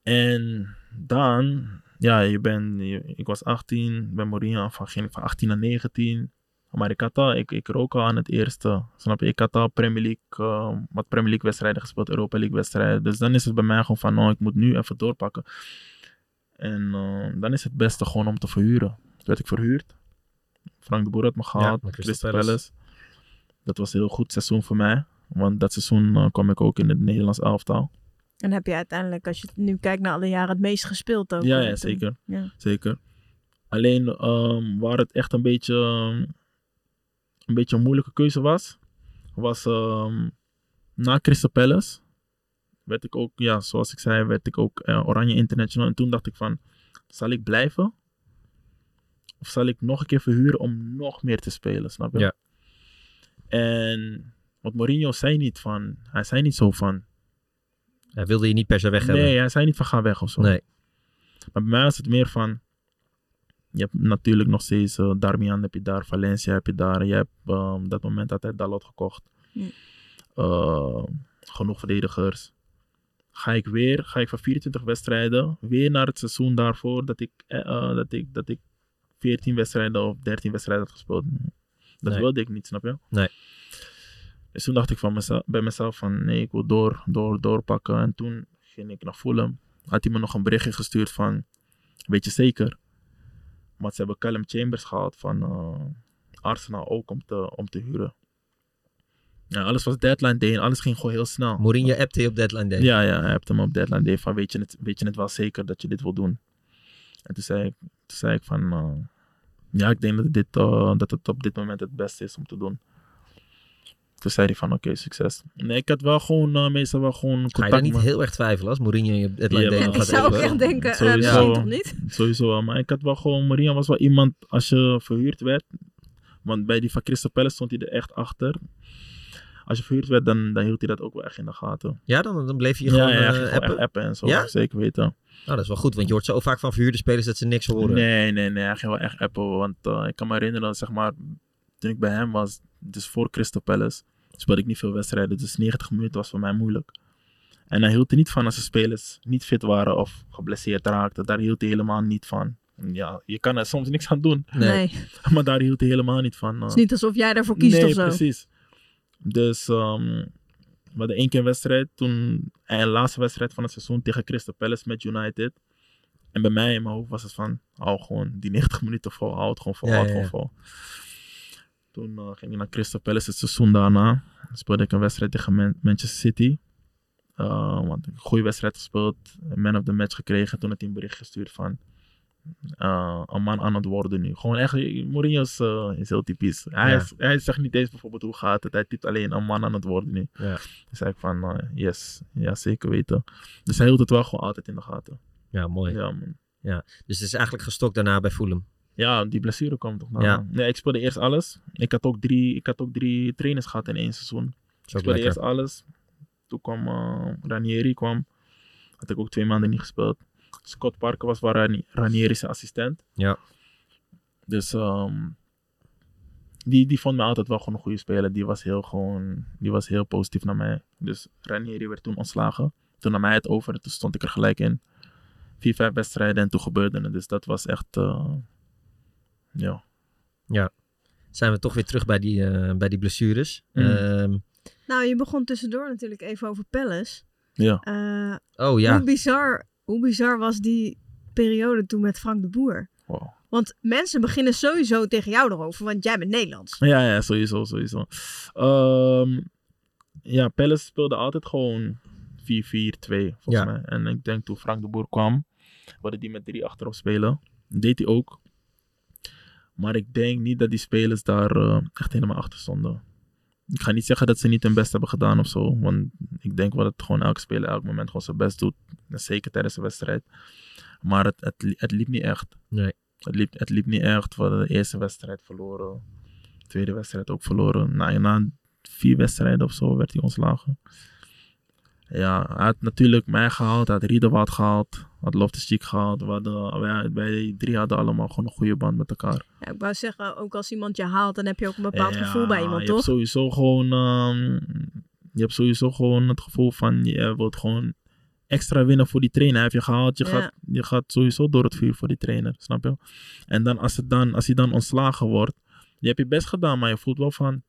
S6: En dan... Ja, je bent, je- ik was 18. Bij Mourinho van, ging ik van 18 naar 19. Maar ik had al, ik, ik rook al aan het eerste. Snap je? Ik had al Premier League, eh, wat Premier League wedstrijden gespeeld, Europa League wedstrijden. Dus dan is het bij mij gewoon van, oh, ik moet nu even doorpakken. En eh, dan is het beste gewoon om te verhuren. Toen werd ik verhuurd. Frank de Boer had me gehaald,
S4: met Crystal
S6: Crystal
S4: Palace.
S6: Palace. Dat was een heel goed seizoen voor mij. Want dat seizoen eh, kwam ik ook in het Nederlands elftal.
S2: En heb je uiteindelijk, als je nu kijkt naar alle jaren, het meest gespeeld ook.
S6: Ja,
S2: hè,
S6: ja
S2: toen?
S6: zeker.
S2: Ja.
S6: zeker. Alleen ehm, waar het echt een beetje, ehm, een beetje een moeilijke keuze was, was ehm, na Crystal Palace. Werd ik ook, ja, zoals ik zei, werd ik ook eh, Oranje International. En toen dacht ik van, zal ik blijven? Of zal ik nog een keer verhuren om nog meer te spelen, snap je?
S4: Ja.
S6: En, want Mourinho zei niet van, hij zei niet zo van,
S4: Hij wilde je niet per se weg hebben.
S6: Nee, hij zei niet van ga weg of zo.
S4: Nee.
S6: Maar bij mij was het meer van... Je hebt natuurlijk nog steeds eh, Darmian heb je daar, Valencia heb je daar. Je hebt ehm, op dat moment had hij Dalot gekocht.
S2: Ja.
S6: Eh, genoeg verdedigers. Ga ik weer, ga ik van 24 wedstrijden, weer naar het seizoen daarvoor dat ik, eh, eh, dat ik, dat ik 14 wedstrijden of 13 wedstrijden had gespeeld. Dat
S4: Nee.
S6: wilde ik niet, snap je?
S4: Nee.
S6: Dus toen dacht ik van mezelf, bij mezelf van nee, ik wil door, door, doorpakken. En toen ging ik naar Fulham. Had hij me nog een berichtje gestuurd van, weet je zeker? Maar ze hebben Callum Chambers gehad van eh, Arsenal ook om te, om te huren. Ja, alles was deadline day en alles ging gewoon heel snel.
S4: Mourinho appte je op deadline day.
S6: Ja, ja, hij hebt hem op deadline day van weet je, het, weet je het wel zeker dat je dit wil doen? En toen zei ik, toen zei ik van eh, ja, ik denk dat, dit, eh, dat het op dit moment het beste is om te doen. Toen zei hij van oké, succes. Nee, ik had wel gewoon eh, meestal wel gewoon contact.
S4: Ga je daar niet
S6: met-
S4: heel erg twijfelen als Mourinho je op deadline
S6: Ja,
S4: day
S6: maar-
S4: nog
S2: <laughs> Ik
S4: gaat
S2: zou ook
S4: appen?
S2: echt denken, eh,
S6: Sowieso.
S2: misschien toch niet?
S6: Sowieso wel, maar ik had wel gewoon... Maria was wel iemand, als je verhuurd werd... Want bij die van Crystal Palace stond hij er echt achter. Als je verhuurd werd, dan, dan hield hij dat ook wel echt in de gaten.
S4: Ja, dan, dan bleef je gewoon
S6: ja, ja,
S4: eh,
S6: ging gewoon
S4: appen.
S6: echt appen en zo,
S4: Ja?
S6: zeker weten.
S4: Nou, dat is wel goed, want je hoort zo vaak van verhuurde spelers dat ze niks horen.
S6: Nee, nee, nee, hij ging wel echt appen. Want eh, ik kan me herinneren, zeg maar, toen ik bij hem was, dus voor Crystal Palace, speelde ik niet veel wedstrijden. Dus 90 minuten was voor mij moeilijk. En hij hield er niet van als de spelers niet fit waren of geblesseerd raakten. Daar hield hij helemaal niet van. Ja, je kan er soms niks aan doen. <laughs>
S2: Nee.
S4: Nee.
S2: Het
S6: Maar daar hield hij helemaal niet van. eh.
S2: is niet alsof jij daarvoor kiest
S6: nee,
S2: of zo.
S6: precies. Dus ehm we hadden één keer een wedstrijd. Toen, en laatste wedstrijd van het seizoen tegen Crystal Palace met United. En bij mij in mijn hoofd was het van, hou gewoon die 90 minuten vol. Hou het gewoon vol,
S4: Ja,
S6: hou het
S4: ja,
S6: gewoon vol. Toen eh, ging ik naar Crystal Palace het seizoen daarna. Speelde ik een wedstrijd tegen Man- Manchester City. Eh, want een goede wedstrijd gespeeld. Man of the match gekregen. Toen het een bericht gestuurd van... eh, een man aan het worden nu. Gewoon echt, Mourinho is, eh, is heel typisch. Hij,
S4: Ja.
S6: is- hij zegt niet eens bijvoorbeeld hoe gaat het. Hij typt alleen een man aan het worden nu.
S4: Ja.
S6: Dus zei ik van, eh, yes, ja zeker weten. Dus hij hield het wel gewoon altijd in de gaten.
S4: Ja, mooi.
S6: Ja, man.
S4: Dus het is eigenlijk gestokt daarna bij Fulham.
S6: ja die blessure kwam toch na.
S4: Ja.
S6: Nee, ik speelde eerst alles. Ik had ook drie, ik had ook drie trainers gehad in één seizoen.
S4: Zo
S6: ik speelde
S4: lekker.
S6: eerst alles. Toen kwam eh, Ranieri. Kwam. Had ik ook twee maanden niet gespeeld. Scott Parker was wel Rani- Ranieri zijn assistent.
S4: Ja.
S6: Dus ehm, die, die vond me altijd wel gewoon een goede speler. Die was heel, gewoon, die was heel positief naar mij. Dus Ranieri werd toen ontslagen. Toen nam hij het over en toen stond ik er gelijk in. Vier, vijf wedstrijden en toen gebeurde het. Dus dat was echt... eh, ja.
S4: Zijn we toch weer terug bij die, eh, bij die blessures.
S6: Mm.
S4: Ehm,
S2: Nou, je begon tussendoor natuurlijk even over Palace.
S6: Ja.
S2: Eh,
S4: oh
S6: Mm.
S4: ja,
S2: hoe, bizar, hoe bizar was die periode toen met Frank de Boer?
S6: Wow.
S2: Want mensen beginnen sowieso tegen jou erover, want jij bent Nederlands.
S6: Ja, ja, sowieso, sowieso. Ehm, ja, Palace speelde altijd gewoon 4-4-2,
S4: Ja.
S6: volgens mij. En ik denk toen Frank de Boer kwam, wilde die met drie achterop spelen. Deed hij ook. Maar ik denk niet dat die spelers daar eh, echt helemaal achter stonden. Ik ga niet zeggen dat ze niet hun best hebben gedaan of zo. Want ik denk wel dat gewoon elke speler elk moment gewoon zijn best doet. En Zeker tijdens de wedstrijd. Maar het, het, li- het liep niet echt.
S4: Nee.
S6: Het liep, het liep niet echt. We hadden de eerste wedstrijd verloren. Tweede wedstrijd ook verloren. Na, na vier wedstrijden of zo werd hij ontslagen. Ja, hij had natuurlijk mij gehaald. Hij had Riedewald gehaald. Had Loftus-Cheek gehaald. We hadden, wij, wij drie hadden allemaal gewoon een goede band met elkaar.
S2: Ja, ik wou zeggen, ook als iemand je haalt, dan heb je ook een bepaald gevoel bij iemand,
S6: je
S2: toch?
S6: Hebt sowieso gewoon, ehm, je hebt sowieso gewoon het gevoel van je wilt gewoon extra winnen voor die trainer. Hij heeft je gehaald, je,
S2: Ja.
S6: gaat, je gaat sowieso door het vuur voor die trainer, snap je? En dan als, het dan, als hij dan ontslagen wordt, je hebt je best gedaan, maar je voelt wel van...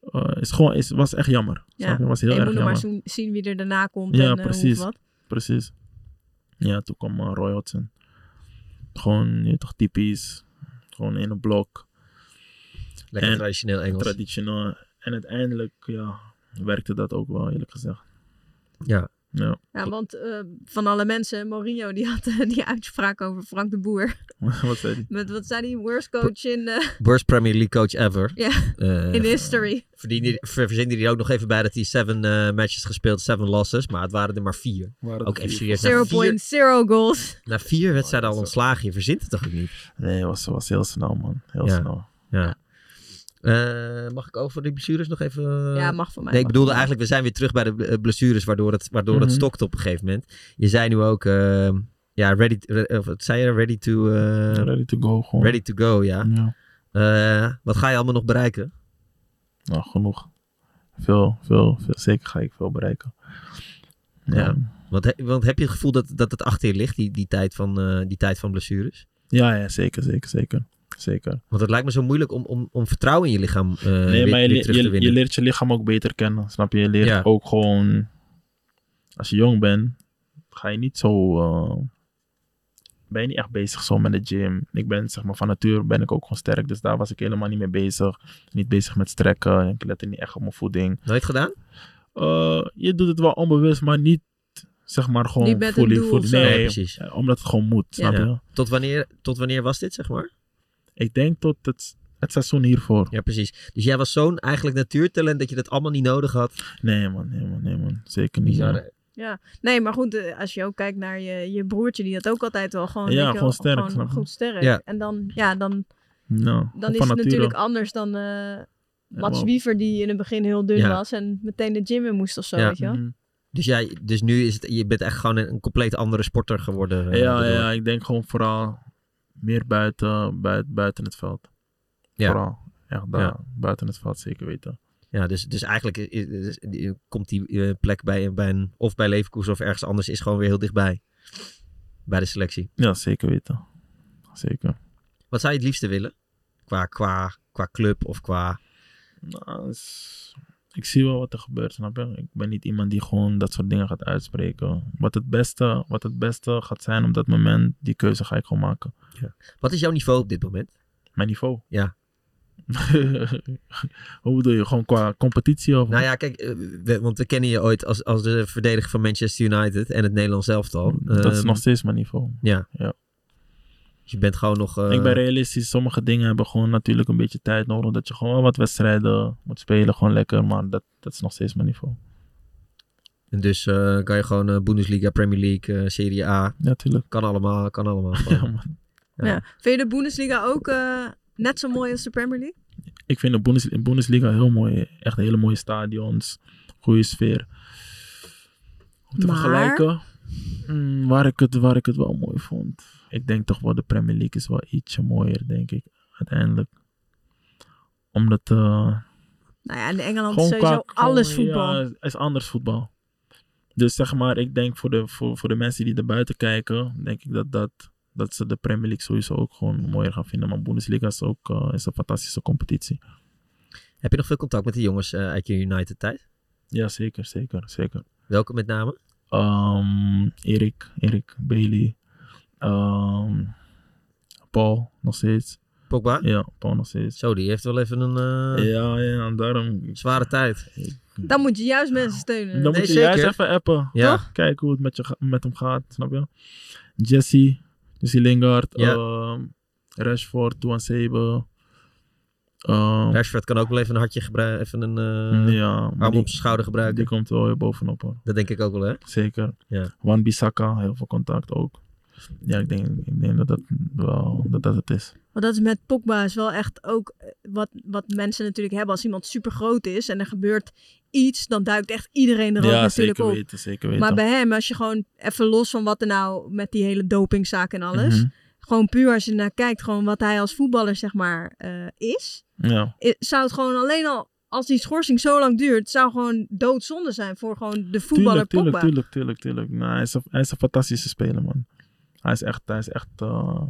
S6: eh is gewoon, is, was echt jammer.
S2: Ja.
S6: Snap je? Was heel
S2: En je
S6: erg
S2: moet nog maar
S6: jammer.
S2: zo- zien wie er daarna komt
S6: Ja,
S2: en eh, hoe
S6: precies.
S2: of wat.
S6: Precies. Ja, toen kwam eh, Roy Hodgson. Gewoon, je weet toch, typisch. Gewoon in een blok.
S4: lekker
S6: en-
S4: traditioneel Engels.
S6: traditioneel. En uiteindelijk ja, werkte dat ook wel, eerlijk gezegd.
S4: ja.
S6: Ja. <laughs>
S2: Ja, want eh, van alle mensen, Mourinho die had eh, die uitspraak over Frank de Boer.
S6: Wat zei die?
S2: Met wat zei die worst coach in, eh,
S4: Worst Premier League coach ever.
S2: ja,
S4: Eh,
S2: <laughs> in history.
S4: verdiende- ver- Verzinde die er ook nog even bij dat hij seven eh, matches gespeeld, seven losses. Maar het waren er maar vier.
S6: Waren het
S4: Ook
S6: vier?
S4: FC heeft na vier,
S2: 0.0 goals.
S4: na vier wedstrijden al
S6: Oh, dat is
S4: ontslagen. Je verzint het toch ook niet?
S6: Nee, was, was heel snel, man. Heel
S4: Ja.
S6: snel.
S4: Ja. Eh, mag ik over de blessures nog even... eh?
S6: Eh,
S2: Ja, mag van mij.
S4: Nee, ik bedoelde eigenlijk, we zijn weer terug bij de eh, blessures, waardoor het, waardoor het
S6: Mhm.
S4: stokt op een gegeven moment. Je zei nu ook, eh, ja, ready, re- of wat zei je, ready to, eh,
S6: Ready to go, gewoon.
S4: ready to go, ja.
S6: Ja.
S4: Eh, wat ga je allemaal nog bereiken?
S6: Nou, genoeg. Veel, veel, veel. Zeker ga ik veel bereiken.
S4: Ja.
S6: Ja.
S4: Want, he- want heb je het gevoel dat, dat het achter je ligt, die, die, tijd van, eh, die tijd van blessures?
S6: Ja, ja, zeker, zeker, zeker. Zeker.
S4: Want het lijkt me zo moeilijk om, om, om vertrouwen in je lichaam eh
S6: nee,
S4: weer,
S6: maar je,
S4: weer terug te
S6: je, je
S4: winnen.
S6: leert je lichaam ook beter kennen. Snap je? Je leert
S4: Ja.
S6: ook gewoon. Als je jong bent, ga je niet zo. eh, ben je niet echt bezig zo met de gym. Ik ben zeg maar van nature ben ik ook gewoon sterk. Dus daar was ik helemaal niet mee bezig. Niet bezig met strekken. Ik lette niet echt op mijn voeding.
S4: Nooit gedaan?
S6: Eh, je doet het wel onbewust, maar niet zeg maar gewoon
S2: Niet met
S6: fully-
S2: een doel
S6: fully-
S2: of zo.
S6: Nee,
S4: precies.
S6: eh, omdat het gewoon moet. Snap
S4: Ja.
S6: je?
S4: Tot wanneer, tot wanneer was dit, zeg maar?
S6: Ik denk tot het, het seizoen hiervoor.
S4: Ja, precies. Dus jij was zo'n eigenlijk natuurtalent dat je dat allemaal niet nodig had.
S6: Nee man, nee man, nee man. Zeker niet.
S4: Bizar,
S6: man.
S4: hè?
S2: Nee, maar goed, eh, als je ook kijkt naar je, je broertje, die had ook altijd wel gewoon,
S6: Ja,
S2: weet je wel,
S6: gewoon sterk,
S2: gewoon
S6: snap je?
S2: goed sterk.
S4: Ja.
S2: En dan, ja, dan,
S6: Nou,
S2: dan is
S6: van
S2: het
S6: nature.
S2: natuurlijk anders dan eh Mats
S6: maar-
S2: Wiever, die in het begin heel dun
S4: Ja.
S2: was en meteen de gym in moest of zo,
S4: Ja.
S2: weet je wel.
S6: Mhm.
S4: Dus, jij, dus nu is het, je bent echt gewoon een, een compleet andere sporter geworden. eh,
S6: Ja, ja,
S4: daardoor.
S6: ja, ik denk gewoon vooral meer buiten, buiten, buiten het veld.
S4: Ja.
S6: Vooral. Echt daar,
S4: Ja.
S6: buiten het veld, zeker weten.
S4: Ja, dus, dus eigenlijk is- is- is- komt die eh, plek bij, bij een, of bij Leverkusen of ergens anders, is gewoon weer heel dichtbij. Bij de selectie.
S6: Ja, zeker weten. Zeker.
S4: Wat zou je het liefste willen? Qua, qua, qua club of qua...
S6: Nou, is- ik zie wel wat er gebeurt, snap je? Ik ben niet iemand die gewoon dat soort dingen gaat uitspreken. Wat het beste, wat het beste gaat zijn op dat moment, die keuze ga ik gewoon maken.
S4: Wat is jouw niveau op dit moment?
S6: Mijn niveau.
S4: Ja.
S6: <laughs> Hoe bedoel je? Gewoon qua competitie of
S4: Nou ja, kijk, eh, we- want we kennen je ooit als, als de verdediger van Manchester United en het Nederlands elftal.
S6: Mm, Dat is
S4: Ehm,
S6: nog steeds mijn niveau.
S4: Ja.
S6: Ja.
S4: Je bent gewoon nog... eh,
S6: ik ben realistisch. Sommige dingen hebben gewoon natuurlijk een beetje tijd nodig. Dat je gewoon wel wat wedstrijden moet spelen. Gewoon lekker. Maar dat, dat is nog steeds mijn niveau.
S4: en dus eh, kan je gewoon eh, Bundesliga, Premier League, eh, Serie A.
S6: Ja, tuurlijk.
S4: Kan allemaal, kan allemaal.
S6: Ja, <laughs>
S4: gewoon.
S6: man.
S4: Ja.
S2: Ja. Vind je de Bundesliga ook eh, net zo mooi als de Premier League?
S6: Ik vind de Bundes- de Bundesliga heel mooi. Echt hele mooie stadions. Goede sfeer. Om te
S2: Maar?
S6: vergelijken. mm, waar, ik het, waar ik het wel mooi vond. Ik denk toch wel de Premier League is wel ietsje mooier, denk ik. Uiteindelijk. Omdat... eh,
S2: Nou ja, in Engeland is
S6: Gewoon
S2: sowieso
S6: qua-
S2: alles
S6: gewoon,
S2: voetbal.
S6: Ja, het is anders voetbal. Dus zeg maar, ik denk voor de, voor, voor de mensen die erbuiten kijken, denk ik dat, dat, dat ze de Premier League sowieso ook gewoon mooier gaan vinden. Maar Bundesliga is ook eh, is een fantastische competitie.
S4: Heb je nog veel contact met de jongens eh, uit je United tijd?
S6: Ja, zeker, zeker, zeker.
S4: Welke met name?
S6: Ehm, Erik, Erik, Bailey, ehm, Paul nog steeds.
S4: Pogba?
S6: Ja, Paul nog steeds.
S4: Zo, die heeft wel even een eh,
S6: Ja, ja, en
S4: Mm,
S6: daarom...
S4: zware tijd.
S2: Dan moet je juist mensen steunen.
S6: Dan moet je
S4: zeker.
S6: juist even appen.
S4: Ja.
S6: kijken hoe het met, je, ga- met hem gaat, snap je? Jesse, Jesse Lingard,
S4: Ja.
S6: ehm, Rashford, Duan Sebe. ehm,
S4: Rashford kan ook wel even een hartje gebruiken, even een eh,
S6: ja, maar
S4: arm
S6: die,
S4: op zijn schouder gebruiken.
S6: die komt wel weer bovenop hoor.
S4: Dat denk ik ook wel, hè?
S6: Zeker.
S4: Ja.
S6: Wan Bissaka, heel veel contact ook. Ja, ik denk, ik denk dat, dat, wel, dat dat het is.
S2: Want dat is met Pogba is wel echt ook eh, wat, wat mensen natuurlijk hebben. Als iemand super groot is en er gebeurt iets, dan duikt echt iedereen er ook
S6: ja,
S2: natuurlijk
S6: zeker
S2: op.
S6: weten, zeker weten.
S2: Maar bij hem, als je gewoon even los van wat er nou met die hele dopingzaak en alles.
S6: Mhm.
S2: Gewoon puur als je naar kijkt, gewoon wat hij als voetballer zeg maar eh, is.
S6: Ja,
S2: i- Zou het gewoon alleen al, als die schorsing zo lang duurt, zou gewoon doodzonde zijn voor gewoon de voetballer
S6: tuurlijk, tuurlijk,
S2: Pogba.
S6: tuurlijk, tuurlijk, tuurlijk. Nou, hij, is een, hij is een fantastische speler, man. Hij is echt, hij is echt, eh,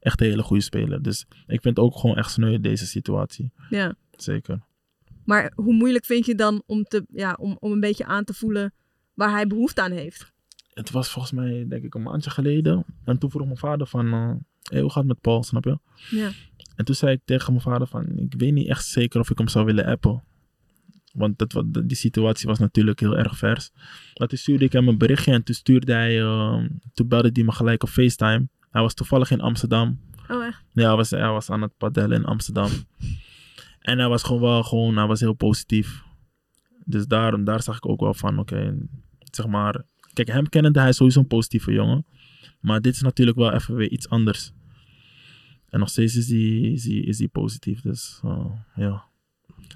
S6: echt een hele goede speler. Dus ik vind het ook gewoon echt sneu deze situatie.
S2: Ja.
S6: Zeker.
S2: Maar hoe moeilijk vind je dan om, te, ja, om, om een beetje aan te voelen waar hij behoefte aan heeft?
S6: Het was volgens mij, denk ik, een maandje geleden. En toen vroeg mijn vader van, eh, hey, hoe gaat het met Paul, snap je?
S2: Ja.
S6: En toen zei ik tegen mijn vader van, ik weet niet echt zeker of ik hem zou willen appen. Want dat, wa- die situatie was natuurlijk heel erg vers. Maar toen stuurde ik hem een berichtje en toen stuurde hij, ehm, toen belde hij me gelijk op FaceTime. Hij was toevallig in Amsterdam.
S2: Oh, echt?
S6: Ja, hij was, hij was aan het padellen in Amsterdam. En hij was gewoon wel gewoon, hij was heel positief. Dus daarom, daar zag ik ook wel van, oké, zeg maar. Kijk, hem kennende, hij is sowieso een positieve jongen. Maar dit is natuurlijk wel even weer iets anders. En nog steeds is hij, is hij, is hij positief, dus eh, ja.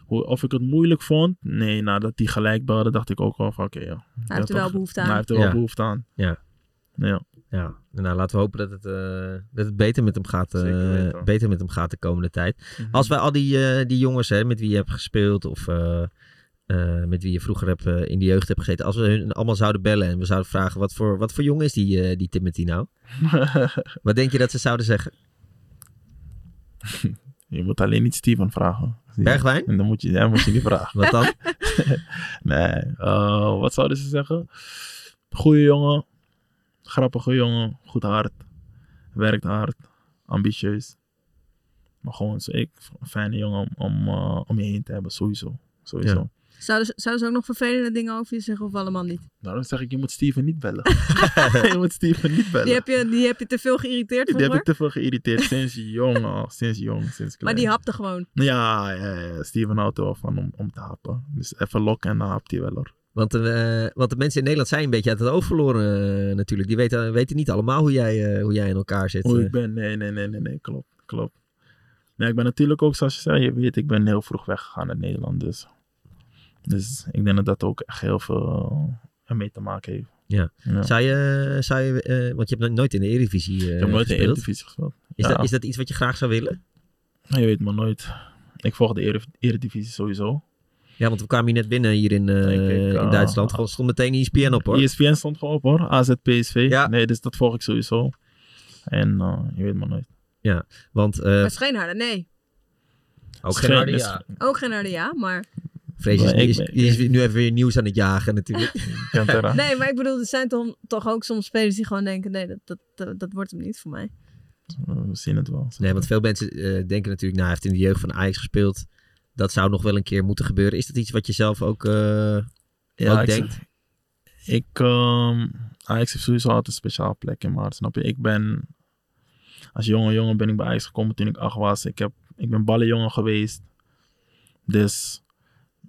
S6: Hoe- Of ik het moeilijk vond? Nee, nadat hij gelijk belde, dacht ik ook wel van, oké, ja.
S2: Hij heeft er wel behoefte aan.
S6: Hij heeft er wel
S4: Ja.
S6: behoefte aan.
S4: Ja.
S6: Ja.
S4: Ja, nou laten we hopen dat het, eh, dat het beter, met hem gaat, eh,
S6: Zeker weten.
S4: beter met hem gaat de komende tijd. Als wij al die, eh, die jongens hè, met wie je hebt gespeeld of eh, eh, met wie je vroeger hebt, eh, in de jeugd hebt gezeten, als we hun allemaal zouden bellen en we zouden vragen wat voor, wat voor jongen is die, eh, die Timothy
S6: <laughs>
S4: nou? Wat denk je dat ze zouden zeggen?
S6: Je moet alleen niet Steven vragen.
S4: Bergwijn?
S6: En dan moet je, dan moet je niet vragen.
S4: Wat dan?
S6: Nee. eh, wat zouden ze zeggen? Goeie jongen. Grappige jongen. Goed hard. Werkt hard. Ambitieus. Maar gewoon zo, ik, een fijne jongen om, om, eh, om je heen te hebben. Sowieso. Sowieso.
S2: Zouden, ze- zouden ze ook nog vervelende dingen over je zeggen of allemaal niet?
S6: Daarom zeg ik, je moet Steven niet bellen. <laughs> je moet Steven niet bellen.
S2: Die heb je, die heb je te veel geïrriteerd
S6: Die heb
S2: vroeger,
S6: ik te veel geïrriteerd sinds jong al. Sinds jong, sinds
S2: maar
S6: klein.
S2: die hapte gewoon.
S6: Ja, ja, ja. Steven houdt er wel van om, om te hapen. Dus even lokken en dan hapt hij wel hoor.
S4: Want, eh, want de mensen in Nederland zijn een beetje uit het oog verloren eh, natuurlijk. Die weten, weten niet allemaal hoe jij, eh, hoe jij in elkaar zit.
S6: Hoe
S4: eh.
S6: ik ben, nee, nee, nee, nee, nee, klopt, klopt. Nee, ik ben natuurlijk ook, zoals je zei, je weet, ik ben heel vroeg weggegaan uit Nederland, dus. Dus ik denk dat dat ook echt heel veel eh, mee te maken heeft.
S4: Ja.
S6: ja.
S4: Zou je, zou je eh, want je hebt nog nooit in de Eredivisie eh,
S6: Ik heb nooit in de
S4: gespeeld.
S6: Eredivisie gespeeld.
S4: Is,
S6: Ja.
S4: dat, is dat iets wat je graag zou willen?
S6: Je weet maar nooit. Ik volg de Ere- Eredivisie sowieso.
S4: Ja, want we kwamen hier net binnen hier in, eh,
S6: Denk ik,
S4: in
S6: ah.
S4: Duitsland. Gewoon stond meteen ESPN op hoor.
S6: ESPN stond gewoon op hoor, AZ, PSV.
S4: Ja.
S6: Nee, dus dat volg ik sowieso. En eh, je weet maar nooit.
S4: Want eh
S2: Maar Scheenharden, nee.
S4: ook
S6: Schijn-
S4: Gerardi,
S6: is-
S4: ja.
S2: Ook geen harde ja, maar...
S4: Vrees is,
S6: Maar ik
S4: is,
S6: ben-
S4: die is weer- nu even weer nieuws aan het jagen natuurlijk. <laughs>
S6: Kantera.
S2: Nee, maar ik bedoel, er zijn toch, toch ook soms spelers die gewoon denken... Nee, dat, dat, dat, dat wordt hem niet voor mij.
S6: We zien het wel.
S4: nee, want veel mensen eh, denken natuurlijk, nou hij heeft in de jeugd van Ajax gespeeld. Dat zou nog wel een keer moeten gebeuren. Is dat iets wat je zelf ook, eh, ook
S6: ik,
S4: denkt?
S6: Ik, ehm, Ajax heeft sowieso altijd een speciaal plek in mijn hart, snap je? Ik ben, als jonge jongen ben ik bij Ajax gekomen toen ik acht was. Ik, heb, ik ben ballenjongen geweest. Dus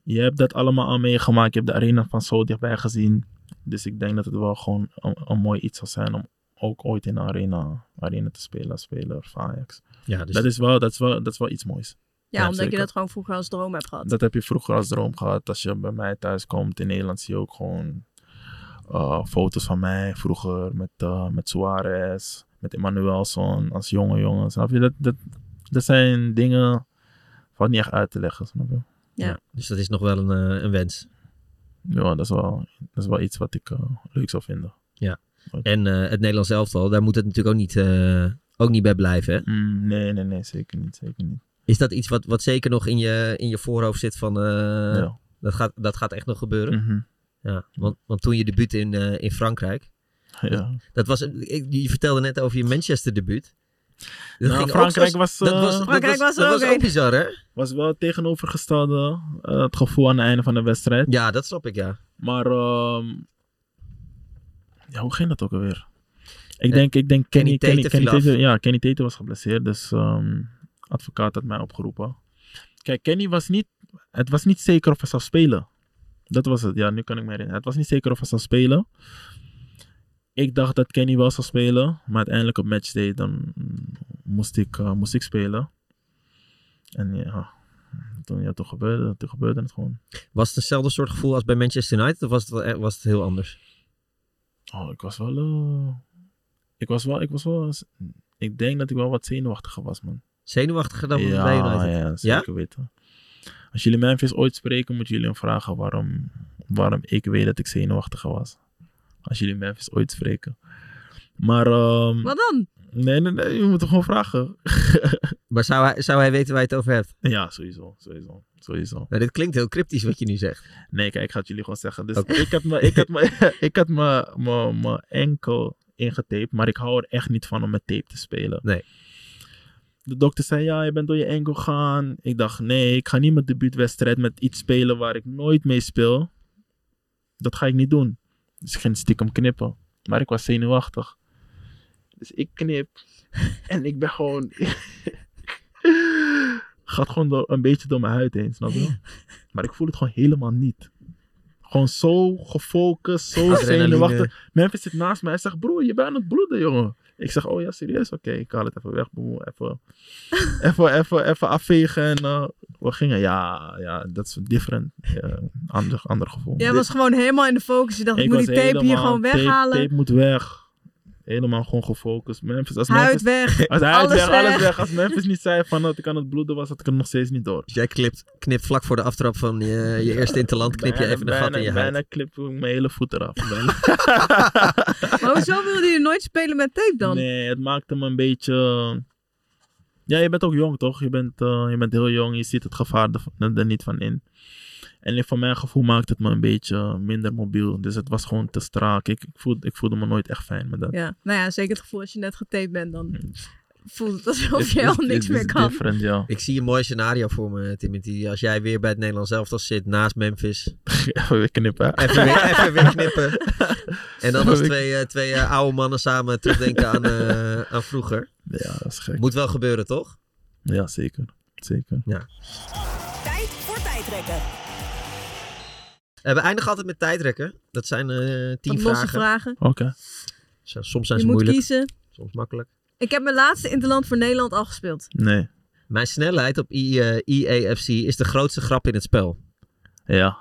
S6: je hebt dat allemaal al meegemaakt. Je hebt de arena van zo dichtbij gezien. Dus ik denk dat het wel gewoon een, een mooi iets zal zijn om ook ooit in de arena, arena te spelen als speler van Ajax.
S4: Ja, dus
S6: dat, is wel, dat, is wel, dat is wel iets moois.
S2: Ja,
S6: Ja,
S2: omdat je
S6: zeker.
S2: dat gewoon vroeger als droom hebt gehad.
S6: Dat heb je vroeger als droom gehad. Als je bij mij thuis komt in Nederland, zie je ook gewoon eh, foto's van mij vroeger met, eh, met Suarez, met Emmanuelson als jonge jongen. Snap je? Dat, dat, dat zijn dingen wat niet echt uit te leggen. Snap je?
S4: Ja. Dus dat is nog wel een, eh, een wens.
S6: Ja, dat is wel, dat is wel iets wat ik eh, leuk zou vinden.
S4: En eh, het Nederlands elftal, daar moet het natuurlijk ook niet, eh, ook niet bij blijven. Hè?
S6: Mm, nee, nee, nee, zeker niet. Zeker niet.
S4: Is dat iets wat, wat zeker nog in je, in je voorhoofd zit van eh,
S6: Ja.
S4: dat, gaat, dat gaat echt nog gebeuren?
S6: Mhm.
S4: Ja, want, want toen je debuut in, eh, in Frankrijk,
S6: ja.
S4: dat was, een- ik, je vertelde net over je Manchester debuut. Dat
S6: Nou,
S4: ging ook
S6: Frankrijk
S4: zo-
S6: was,
S4: dat
S6: eh,
S4: was,
S2: Frankrijk
S4: dat was,
S2: was er
S4: dat
S2: ook
S4: was ook
S2: een.
S4: bizar hè?
S6: was wel het tegenovergestelde, eh, het gevoel aan het einde van de wedstrijd.
S4: Ja, dat snap ik ja.
S6: Maar ehm, ja, hoe ging dat ook alweer?
S4: Eh,
S6: Ik denk, ik denk
S4: Kenny
S6: Kenny, Kenny,
S4: Tate
S6: Kenny
S4: viel af.
S6: Tate- ja, Kenny Tate was geblesseerd, dus ehm, advocaat had mij opgeroepen. Kijk, Kenny was niet, het was niet zeker of hij zou spelen. Dat was het, ja, nu kan ik me herinneren. Het was niet zeker of hij zou spelen. Ik dacht dat Kenny wel zou spelen, maar uiteindelijk op matchday dan mm, moest ik, eh, moest ik spelen. En ja, toen, ja, toen, gebeurde, toen gebeurde het gewoon.
S4: Was het hetzelfde soort gevoel als bij Manchester United of was het, wel echt- was het heel anders?
S6: Oh, ik was wel. eh, ik was wel. Ik was wel. eens- Ik denk dat ik wel wat zenuwachtiger was, man.
S4: Zenuwachtiger dan bij United?
S6: ja, zeker weten. Als jullie Memphis ooit spreken, moeten jullie hem vragen waarom, waarom ik weet dat ik zenuwachtiger was. Als jullie Memphis ooit spreken. Maar, ehm,
S2: Wat dan?
S6: nee, nee, nee, je moet hem gewoon vragen.
S4: Maar zou hij, zou hij weten waar je het over hebt?
S6: Ja, sowieso, sowieso, sowieso.
S4: Nou, dit klinkt heel cryptisch wat je nu zegt.
S6: Nee, kijk, ik ga het jullie gewoon zeggen. Dus
S4: Oké.
S6: ik had me- ik had me- <laughs> ik had me- me- mijn enkel ingetaped, maar ik hou er echt niet van om met tape te spelen.
S4: Nee.
S6: de dokter zei, ja, je bent door je enkel gegaan. Ik dacht, nee, ik ga niet mijn debuutwedstrijd met iets spelen waar ik nooit mee speel. Dat ga ik niet doen. Dus ik ging stiekem knippen. Maar ik was zenuwachtig. Dus ik knip. en ik ben gewoon... <laughs> Gaat gewoon door- een beetje door mijn huid heen, snap je? Maar ik voel het gewoon helemaal niet. Gewoon zo gefocust, zo zenuwachtig. Memphis zit naast mij. Hij zegt, broer, je bent aan het bloeden, jongen. Ik zeg, oh ja, serieus? Oké, ik haal het even weg,
S2: <laughs>
S6: boe. Even, even, even, even afvegen. En eh, we gingen, ja, ja, dat is different. Eh, ander, ander gevoel.
S2: Jij was gewoon helemaal in de focus. Je dacht, ik, moet die
S6: was
S2: tape hier
S6: helemaal-
S2: gewoon weghalen.
S6: Tape, tape moet weg. Helemaal gewoon gefocust. Memphis, als
S2: Huid
S6: Memphis, <laughs>
S2: weg.
S6: als hij
S2: alles
S6: weg, alles
S2: weg.
S6: weg. Als Memphis niet zei van dat ik aan het bloeden was, had ik het nog steeds niet door.
S4: Dus jij knipt, knipt vlak voor de aftrap van je, je eerste interland, knip je
S6: Bijna-
S4: even een gat in je
S6: bijna-
S4: huid.
S6: Bijna klip ik mijn hele voet eraf.
S2: <laughs>
S6: Bijna.
S2: Maar hoezo wilde je nooit spelen met tape dan?
S6: Nee, het maakte me een beetje. Ja, je bent ook jong, toch? Je bent, eh, je bent heel jong, je ziet het gevaar er, er niet van in. En voor mijn gevoel maakte het me een beetje minder mobiel. Dus het was gewoon te strak. Ik, ik, voelde, ik voelde me nooit echt fijn met dat.
S2: Ja, nou ja, zeker het gevoel als je net getaped bent, dan
S6: Mm.
S2: voelt het alsof
S6: Dit-
S2: je al
S6: dit-
S2: niks
S6: dit
S2: meer
S6: is
S2: kan.
S6: different,
S2: <laughs>
S6: ja.
S4: Ik zie een mooi scenario voor me, Timothy. Als jij weer bij het Nederlands elftal zit, naast Memphis.
S6: Even weer knippen.
S4: Even
S2: <laughs>
S4: weer, even weer knippen. En dan als twee, eh, twee eh, oude mannen samen terugdenken aan, eh, aan vroeger.
S6: Ja, dat is gek.
S4: Moet wel gebeuren, toch?
S6: Ja, zeker. Zeker.
S3: Tijd voor tijdrekken.
S4: Eh, we eindigen altijd met tijdrekken. Dat zijn eh tien
S2: Wat losse
S4: vragen.
S2: vragen.
S6: Oké.
S4: Zo- Soms zijn
S2: Je
S4: ze
S2: moet
S4: moeilijk,
S2: kiezen.
S4: soms makkelijk.
S2: Ik heb mijn laatste Interland voor Nederland al gespeeld.
S6: Nee.
S4: Mijn snelheid op I, eh, IAFC is de grootste grap in het spel.
S6: Ja.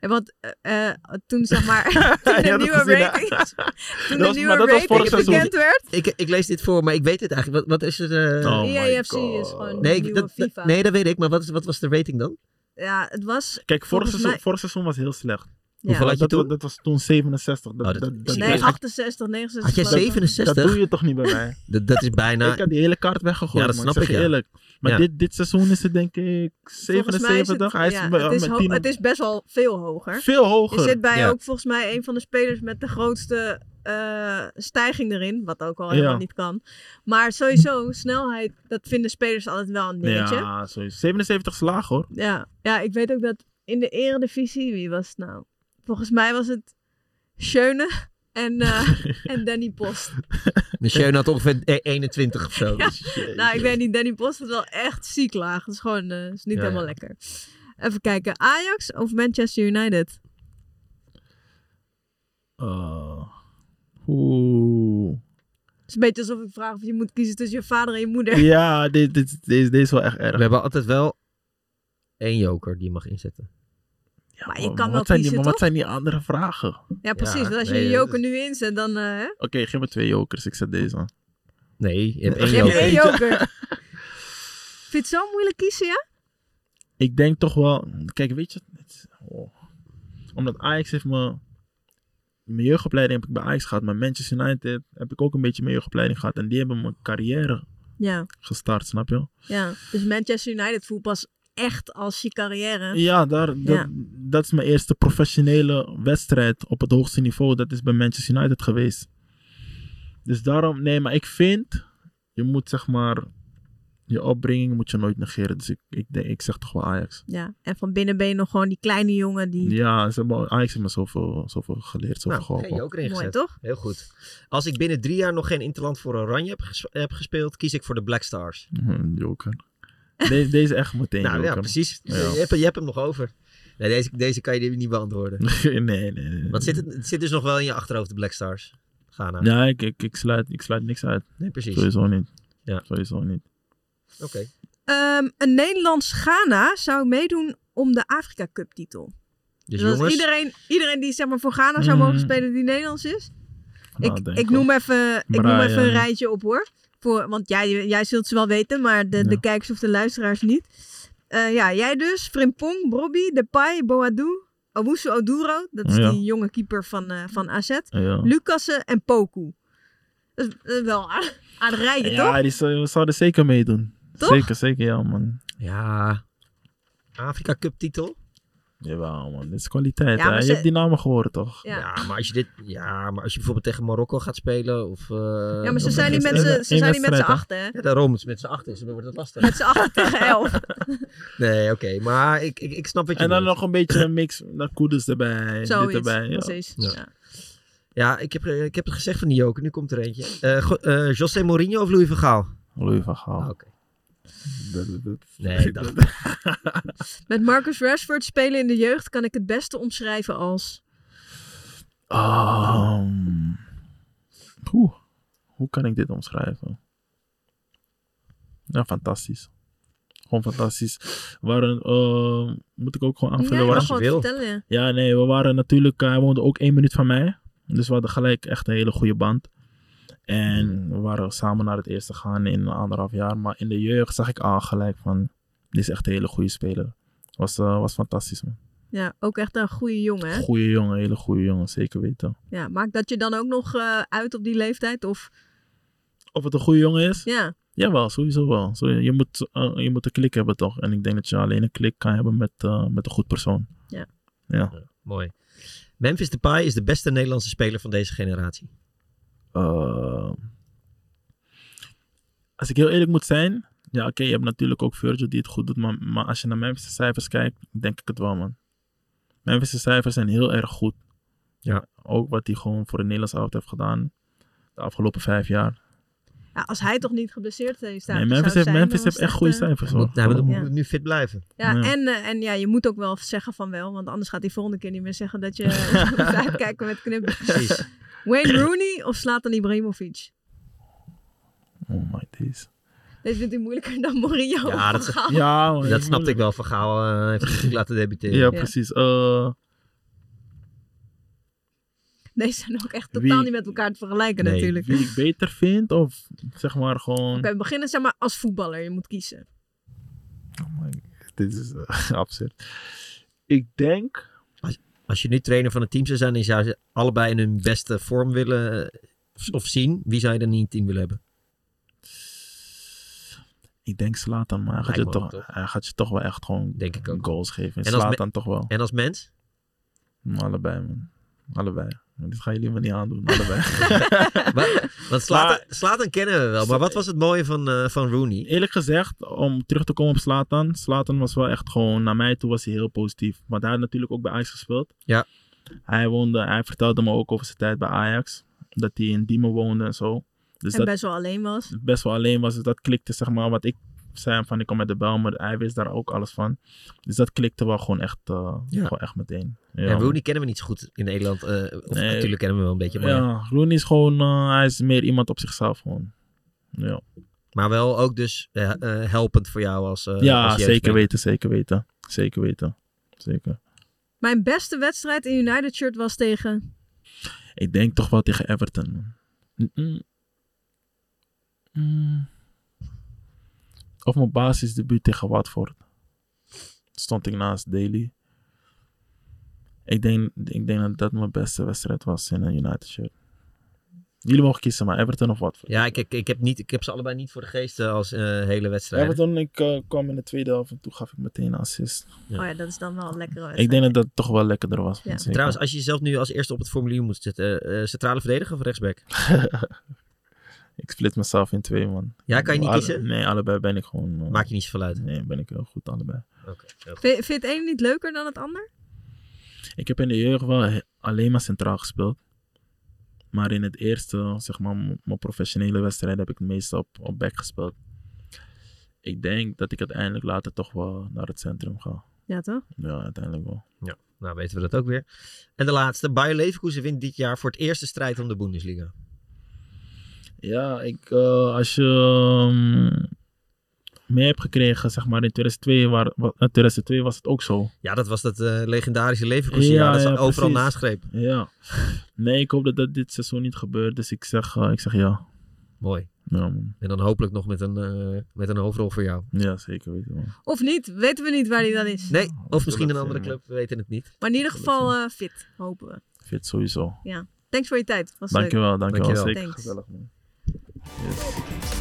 S2: En want eh, eh, toen zeg
S6: <laughs>
S2: maar, toen
S6: Je
S2: de
S6: had
S2: nieuwe
S6: het gezien, hè? <laughs>
S2: rating, toen de
S6: was-
S2: nieuwe
S6: maar dat was
S2: rating
S6: vorig seizoen.
S2: bekend werd.
S4: Ik, ik lees dit voor, maar ik weet het eigenlijk. Wat, wat is het? eh,
S6: Oh my
S2: IAFC
S6: God.
S2: is gewoon
S4: nee,
S2: de
S4: ik-
S2: nieuwe
S4: dat, dat-
S2: FIFA.
S4: nee, dat weet ik. Maar wat, is, wat was de rating dan?
S2: Ja, het was...
S6: Kijk, vorig
S2: Volgens
S6: seizoen,
S2: mij-
S6: vorig seizoen was heel slecht.
S4: Hoeveel had je
S6: dat,
S4: toen?
S6: was- dat was toen 67. Dat,
S4: Oh, dat-
S6: dat, dat,
S4: Nee,
S6: dat-
S2: Nee, 68, 69.
S4: Had jij
S2: geloof ik.
S4: 67?
S6: dat doe je toch niet bij mij?
S4: Dat, dat is bijna...
S6: <laughs> ik had die hele kaart weggegooid.
S4: Nou, Ja, dat
S6: man.
S4: snap
S6: ik. Zeg
S4: ik,
S6: je
S4: ja.
S6: eerlijk. Maar
S4: Ja.
S6: dit, dit seizoen is het denk ik
S2: Volgens mij is
S6: 77. Hij is,
S2: ja,
S6: met-
S2: het, is
S6: met
S2: ho-
S6: 10
S2: het is best wel veel hoger.
S6: veel
S2: Je
S6: hoger.
S2: zit bij
S4: Ja.
S2: ook volgens mij een van de spelers met de grootste eh, stijging erin. Wat ook al helemaal
S6: Ja.
S2: niet kan. Maar sowieso, snelheid, dat vinden spelers altijd wel een dingetje. Ja.
S6: ja, sowieso. 77 slaag hoor.
S2: Ja. ik weet ook dat in de eredivisie, wie was het nou? Volgens mij was het Schöne en, eh, en Danny Post.
S4: De Schöne had ongeveer e- 21 of zo. dus
S2: Nou, ik weet niet, Danny Post had wel echt ziek laag. Dat is gewoon eh, is niet
S4: Ja,
S2: helemaal
S4: ja.
S2: lekker. Even kijken, Ajax of Manchester United?
S6: Eh, Oeh.
S2: Het is een beetje alsof ik vraag of je moet kiezen tussen je vader en je
S4: <laughs>
S2: moeder.
S6: Ja, dit, dit, dit, is- dit is wel echt
S4: We
S6: erg.
S4: hebben altijd wel één joker die je mag inzetten.
S6: Ja,
S2: maar je
S6: man,
S2: kan wel
S6: wat zijn die,
S2: kiezen,
S6: maar wat
S2: toch?
S6: zijn die andere vragen? Oké,
S2: Ja, precies.
S4: Ja,
S2: want als
S4: nee,
S2: je je
S4: dat
S2: joker
S4: is-
S2: nu inzet, dan... eh, hè?
S6: geef me twee jokers. Ik zet deze.
S4: Nee, je hebt één
S2: je hebt
S4: joker.
S2: één
S4: <laughs>
S6: Eentje.
S2: joker. Vind je het zo moeilijk kiezen, ja?
S6: Ik denk toch wel... Kijk, weet je... het is- oh. Omdat Ajax heeft me... Mijn jeugdopleiding heb ik bij Ajax gehad. Maar Manchester United heb ik ook een beetje mijn jeugdopleiding gehad. En die hebben mijn carrière
S2: Ja,
S6: gestart, snap je?
S2: ja. Dus Manchester United voelt pas echt als je carrière.
S6: Ja, daar, dat,
S2: Ja.
S6: dat is mijn eerste professionele wedstrijd op het hoogste niveau. Dat is bij Manchester United geweest. Dus daarom, nee, maar ik vind, je moet zeg maar, je opbrenging moet je nooit negeren. Dus ik, ik, denk, ik zeg toch wel Ajax.
S2: Ja, en van binnen ben je nog gewoon die kleine jongen die...
S6: Ja, ze hebben, Ajax heeft me zoveel, zoveel geleerd, zoveel
S4: Nou, geen
S6: geholpen.
S4: joker
S2: Mooi,
S4: ingezet.
S2: toch?
S4: Heel goed. Als ik binnen drie jaar nog geen Interland voor Oranje heb, ges- heb gespeeld, kies ik voor de Black Stars.
S6: Hm, joker. Deze, deze echt meteen
S4: nou ja,
S6: joker.
S4: precies.
S6: Ja.
S4: Je, hebt, je hebt hem nog over. Nee, deze, deze kan je niet beantwoorden.
S6: <laughs> nee, nee, nee.
S4: Want zit het, het zit dus nog wel in je achterhoofd, de Black Stars. Ghana.
S6: Ja, ik, ik, ik, sluit, ik sluit niks uit.
S4: Nee, precies. Oké.
S6: Sowieso niet.
S4: Ja.
S6: Sowieso niet.
S2: Ehm, een Nederlands Ghana zou meedoen om de Afrika Cup titel.
S4: Dus,
S2: Dus als
S4: jongens,
S2: iedereen, iedereen die zeg maar, voor Ghana zou mogen
S6: Mm.
S2: spelen die Nederlands is.
S6: Nou,
S2: ik,
S6: denk
S2: ik, noem even, ik noem
S6: Brian.
S2: even een rijtje op hoor. Voor, want jij, jij zult ze wel weten, maar de, de
S6: Ja.
S2: kijkers of de luisteraars niet. Eh, ja, jij dus, Frimpong, Brobby, Depay, Boadu, Owusu Oduro. Dat is
S6: Ja.
S2: die jonge keeper van, eh, van AZ.
S6: Ja.
S2: Lucassen en Poku. Dat is, dat is wel aan aardig rijtje, toch?
S6: Ja, die zou- zouden zeker meedoen.
S2: Toch?
S6: Zeker, zeker, ja, man.
S4: Ja. Afrika Cup titel.
S6: Jawel man, dit is kwaliteit.
S2: Ja,
S6: hè.
S2: maar
S6: Je
S2: ze-
S6: hebt die namen gehoord toch?
S2: Ja.
S4: Ja, maar als je dit, ja, maar als je bijvoorbeeld tegen Marokko gaat spelen of... eh,
S2: Ja, maar ze
S4: of-
S2: zijn niet met
S6: gisteren.
S2: z'n- ze
S6: Eén
S2: zijn niet met z'n
S6: wedstrijd, hè?
S2: achten, hè?
S4: Ja, daarom, het is met z'n acht is, dan wordt het lastig.
S2: Met z'n achten
S6: <laughs>
S2: tegen elf.
S4: Nee, oké, maar ik, ik, ik snap wat je
S6: En dan
S4: bedoelt.
S6: nog een beetje een mix naar koeders erbij. dit
S2: Zoiets,
S6: erbij. Ja.
S2: precies.
S4: Ja.
S2: Ja.
S4: Ja, ik heb, eh, ik heb het gezegd van die joker, nu komt er eentje. Eh, go- eh, José Mourinho of Louis van Gaal?
S6: Louis van
S4: Ah,
S6: Gaal.
S4: oké.
S6: Dat- dat- dat-
S4: Nee, ik dacht...
S2: Met Marcus Rashford spelen in de jeugd kan ik het beste omschrijven als...
S6: Ehm, Oeh, hoe kan ik dit omschrijven? Ja, fantastisch. Gewoon fantastisch. We Waren, ehm, moet ik ook gewoon
S2: Ja, je
S6: aanvullen?
S2: mag
S6: waar?
S4: ze
S2: gewoon
S4: wil.
S2: vertellen. ja.
S6: Ja, nee, we waren natuurlijk, eh, hij woonde ook één minuut van mij. Dus we hadden gelijk echt een hele goede band. En we waren samen naar het eerste gaan in anderhalf jaar. Maar in de jeugd zag ik al gelijk van, dit is echt een hele goede speler. Was, eh, was fantastisch man.
S2: Ja, ook echt een goede jongen, hè?
S6: Goeie jongen, hele goede jongen, zeker weten.
S2: Ja, maakt dat je dan ook nog eh, uit op die leeftijd? Of,
S6: Of het een goede jongen is?
S2: ja,
S6: Jawel, sowieso wel. Zo, je, moet, eh, je moet een klik hebben toch? En ik denk dat je alleen een klik kan hebben met, eh, met een goed persoon.
S4: Mooi. Memphis Depay is de beste Nederlandse speler van deze generatie.
S6: Eh, als ik heel eerlijk moet zijn, ja oké, je hebt natuurlijk ook Virgil die het goed doet, maar, maar als je naar Memphis' cijfers kijkt, denk ik het wel man. Memphis' cijfers zijn heel erg goed.
S4: Ja.
S6: Ook wat hij gewoon voor de Nederlandse auto heeft gedaan de afgelopen vijf jaar.
S2: ja, als hij toch niet geblesseerd is.
S6: nee, Memphis heeft, Memphis heeft echt goede cijfers.
S4: Hij
S6: hoor.
S4: moet, hij moet-
S2: Ja.
S4: moet nu fit blijven.
S2: eh, Ja,
S6: Ja.
S2: En, eh, en ja, je moet ook wel zeggen van wel, want anders gaat hij volgende keer niet meer zeggen dat
S6: <laughs>
S2: je <laughs> moet uitkijken met knippen.
S4: Precies.
S2: Wayne Rooney of Slatan Ibrahimovic?
S6: Oh my days.
S2: Deze vindt hij moeilijker dan Mourinho.
S4: Ja, dat-
S2: <laughs> Van Gaal.
S6: Ja, man,
S4: dat snapte ik wel. Van Gaal eh, heeft zich natuurlijk laten debuteren.
S6: Ja,
S2: Ja.
S6: precies. Eh,
S2: Deze zijn ook echt
S6: Wie-
S2: totaal niet met elkaar te vergelijken
S4: Nee,
S2: natuurlijk.
S6: wie ik beter vind of zeg maar gewoon...
S2: Oké, we beginnen zeg maar als voetballer. Je moet kiezen.
S6: Oh my- <laughs> Dit is eh, absurd. Ik denk...
S4: Als je nu trainer van een team zou zijn en je zou ze allebei in hun beste vorm willen eh, of zien, wie zou je dan in je team willen hebben?
S6: Ik denk Slatan, maar hij gaat, je
S4: Lijkt me
S6: toch,
S4: ook, toch?
S6: hij gaat je toch wel echt gewoon
S4: Denk ik ook.
S6: goals geven. En
S4: En als me-
S6: Slatan toch wel. Mm,
S4: En als mens?
S6: <laughs> Allebei, man. Allebei. Dit gaan jullie me niet aandoen.
S4: <laughs>
S6: Allebei.
S4: Wa- Want Slatan, Slatan kennen we wel, maar wat was het mooie van, eh, van Rooney?
S6: Eerlijk gezegd, om terug te komen op Slatan. Slatan was wel echt gewoon, naar mij toe was hij heel positief. Want hij had natuurlijk ook bij Ajax gespeeld.
S4: Ja.
S6: Hij, woonde, hij vertelde me ook over zijn tijd bij Ajax. Dat hij in Diemen woonde en zo. Dus
S2: en
S6: dat,
S2: best wel alleen was.
S6: het best wel alleen was. Dus dat klikte, zeg maar, wat ik zei van ik kom met de bel, maar hij wist daar ook alles van. Dus dat klikte wel gewoon echt, eh,
S4: Ja.
S6: gewoon echt meteen. Ja,
S4: en
S6: man.
S4: Rooney kennen we niet zo goed in Nederland. eh, of
S6: Nee.
S4: natuurlijk kennen we wel een beetje, maar,
S6: ja, Rooney is gewoon, eh, hij is meer iemand op zichzelf gewoon.
S4: Eh,
S6: Ja,
S4: maar wel ook dus eh, eh, helpend voor jou als eh,
S6: ja
S4: als jeugdspeler.
S6: zeker weten, zeker weten. Zeker weten. Zeker.
S2: Mijn beste wedstrijd in United shirt was tegen...
S6: Ik denk toch wel tegen Everton. man. Mm-mm. Mm. Of mijn basisdebuut tegen Watford. Stond ik naast Daly. Ik denk, ik denk dat dat mijn beste wedstrijd was in een United shirt. Jullie mogen kiezen, maar Everton of Watford.
S4: Ja, ik, ik, ik, heb niet, ik heb ze allebei niet voor de geest eh, als eh, hele wedstrijd.
S6: Everton, ik eh, kwam in de tweede helft en toen gaf ik meteen een assist.
S4: Ja.
S2: Oh ja, dat is dan wel een lekkere wedstrijd.
S6: Ik denk dat dat toch wel lekkerder was.
S2: Ja.
S6: zeker.
S4: Trouwens, als je jezelf nu als eerste op het formulier moet zetten, eh, centrale verdediger of rechtsback?
S6: ik split mezelf in twee, man.
S4: Ja, kan je niet
S6: Alle-
S4: kiezen?
S6: Nee, allebei ben ik gewoon... eh,
S4: Maakt je niet zoveel uit.
S6: Nee, ben ik heel goed, allebei.
S4: Oké. heel goed.
S2: Vind, vindt het een niet leuker dan het ander?
S6: Ik heb in de jeugd wel he- alleen maar centraal gespeeld. Maar in het eerste, zeg maar, m- mijn professionele wedstrijd heb ik meestal op, op back gespeeld. Ik denk dat ik uiteindelijk later toch wel naar het centrum ga.
S2: Ja, toch?
S6: Ja, uiteindelijk wel.
S4: Nou, weten we dat ook weer. En de laatste. Bayer Leverkusen wint dit jaar voor het eerste strijd om de Bundesliga.
S6: Ja, ik, eh, als je ehm, mee hebt gekregen, zeg maar, in 2002, waar, wa- eh, 2002 was het ook zo.
S4: Ja, dat was dat eh, legendarische Leverkusen jaar
S6: Ja,
S4: dat ze
S6: ja,
S4: overal
S6: precies.
S4: naschreep.
S6: Ja. Nee, ik hoop dat dat dit seizoen niet gebeurt. Dus ik zeg, eh, ik zeg ja.
S4: Mooi.
S6: Ja, man.
S4: En dan hopelijk nog met een, eh, met een hoofdrol voor jou.
S6: ja zeker weten, man.
S2: Of niet? Weten we niet waar hij dan is.
S4: Nee, of misschien een
S6: zullen
S4: andere
S6: het zien,
S4: club. We weten het niet.
S2: Maar in ieder geval eh, fit, hopen we.
S6: Fit sowieso.
S2: Thanks voor je tijd. Was leuk.
S6: Dankjewel, dankjewel.
S4: Dankjewel.
S6: Zeker
S2: Thanks.
S6: gezellig, man.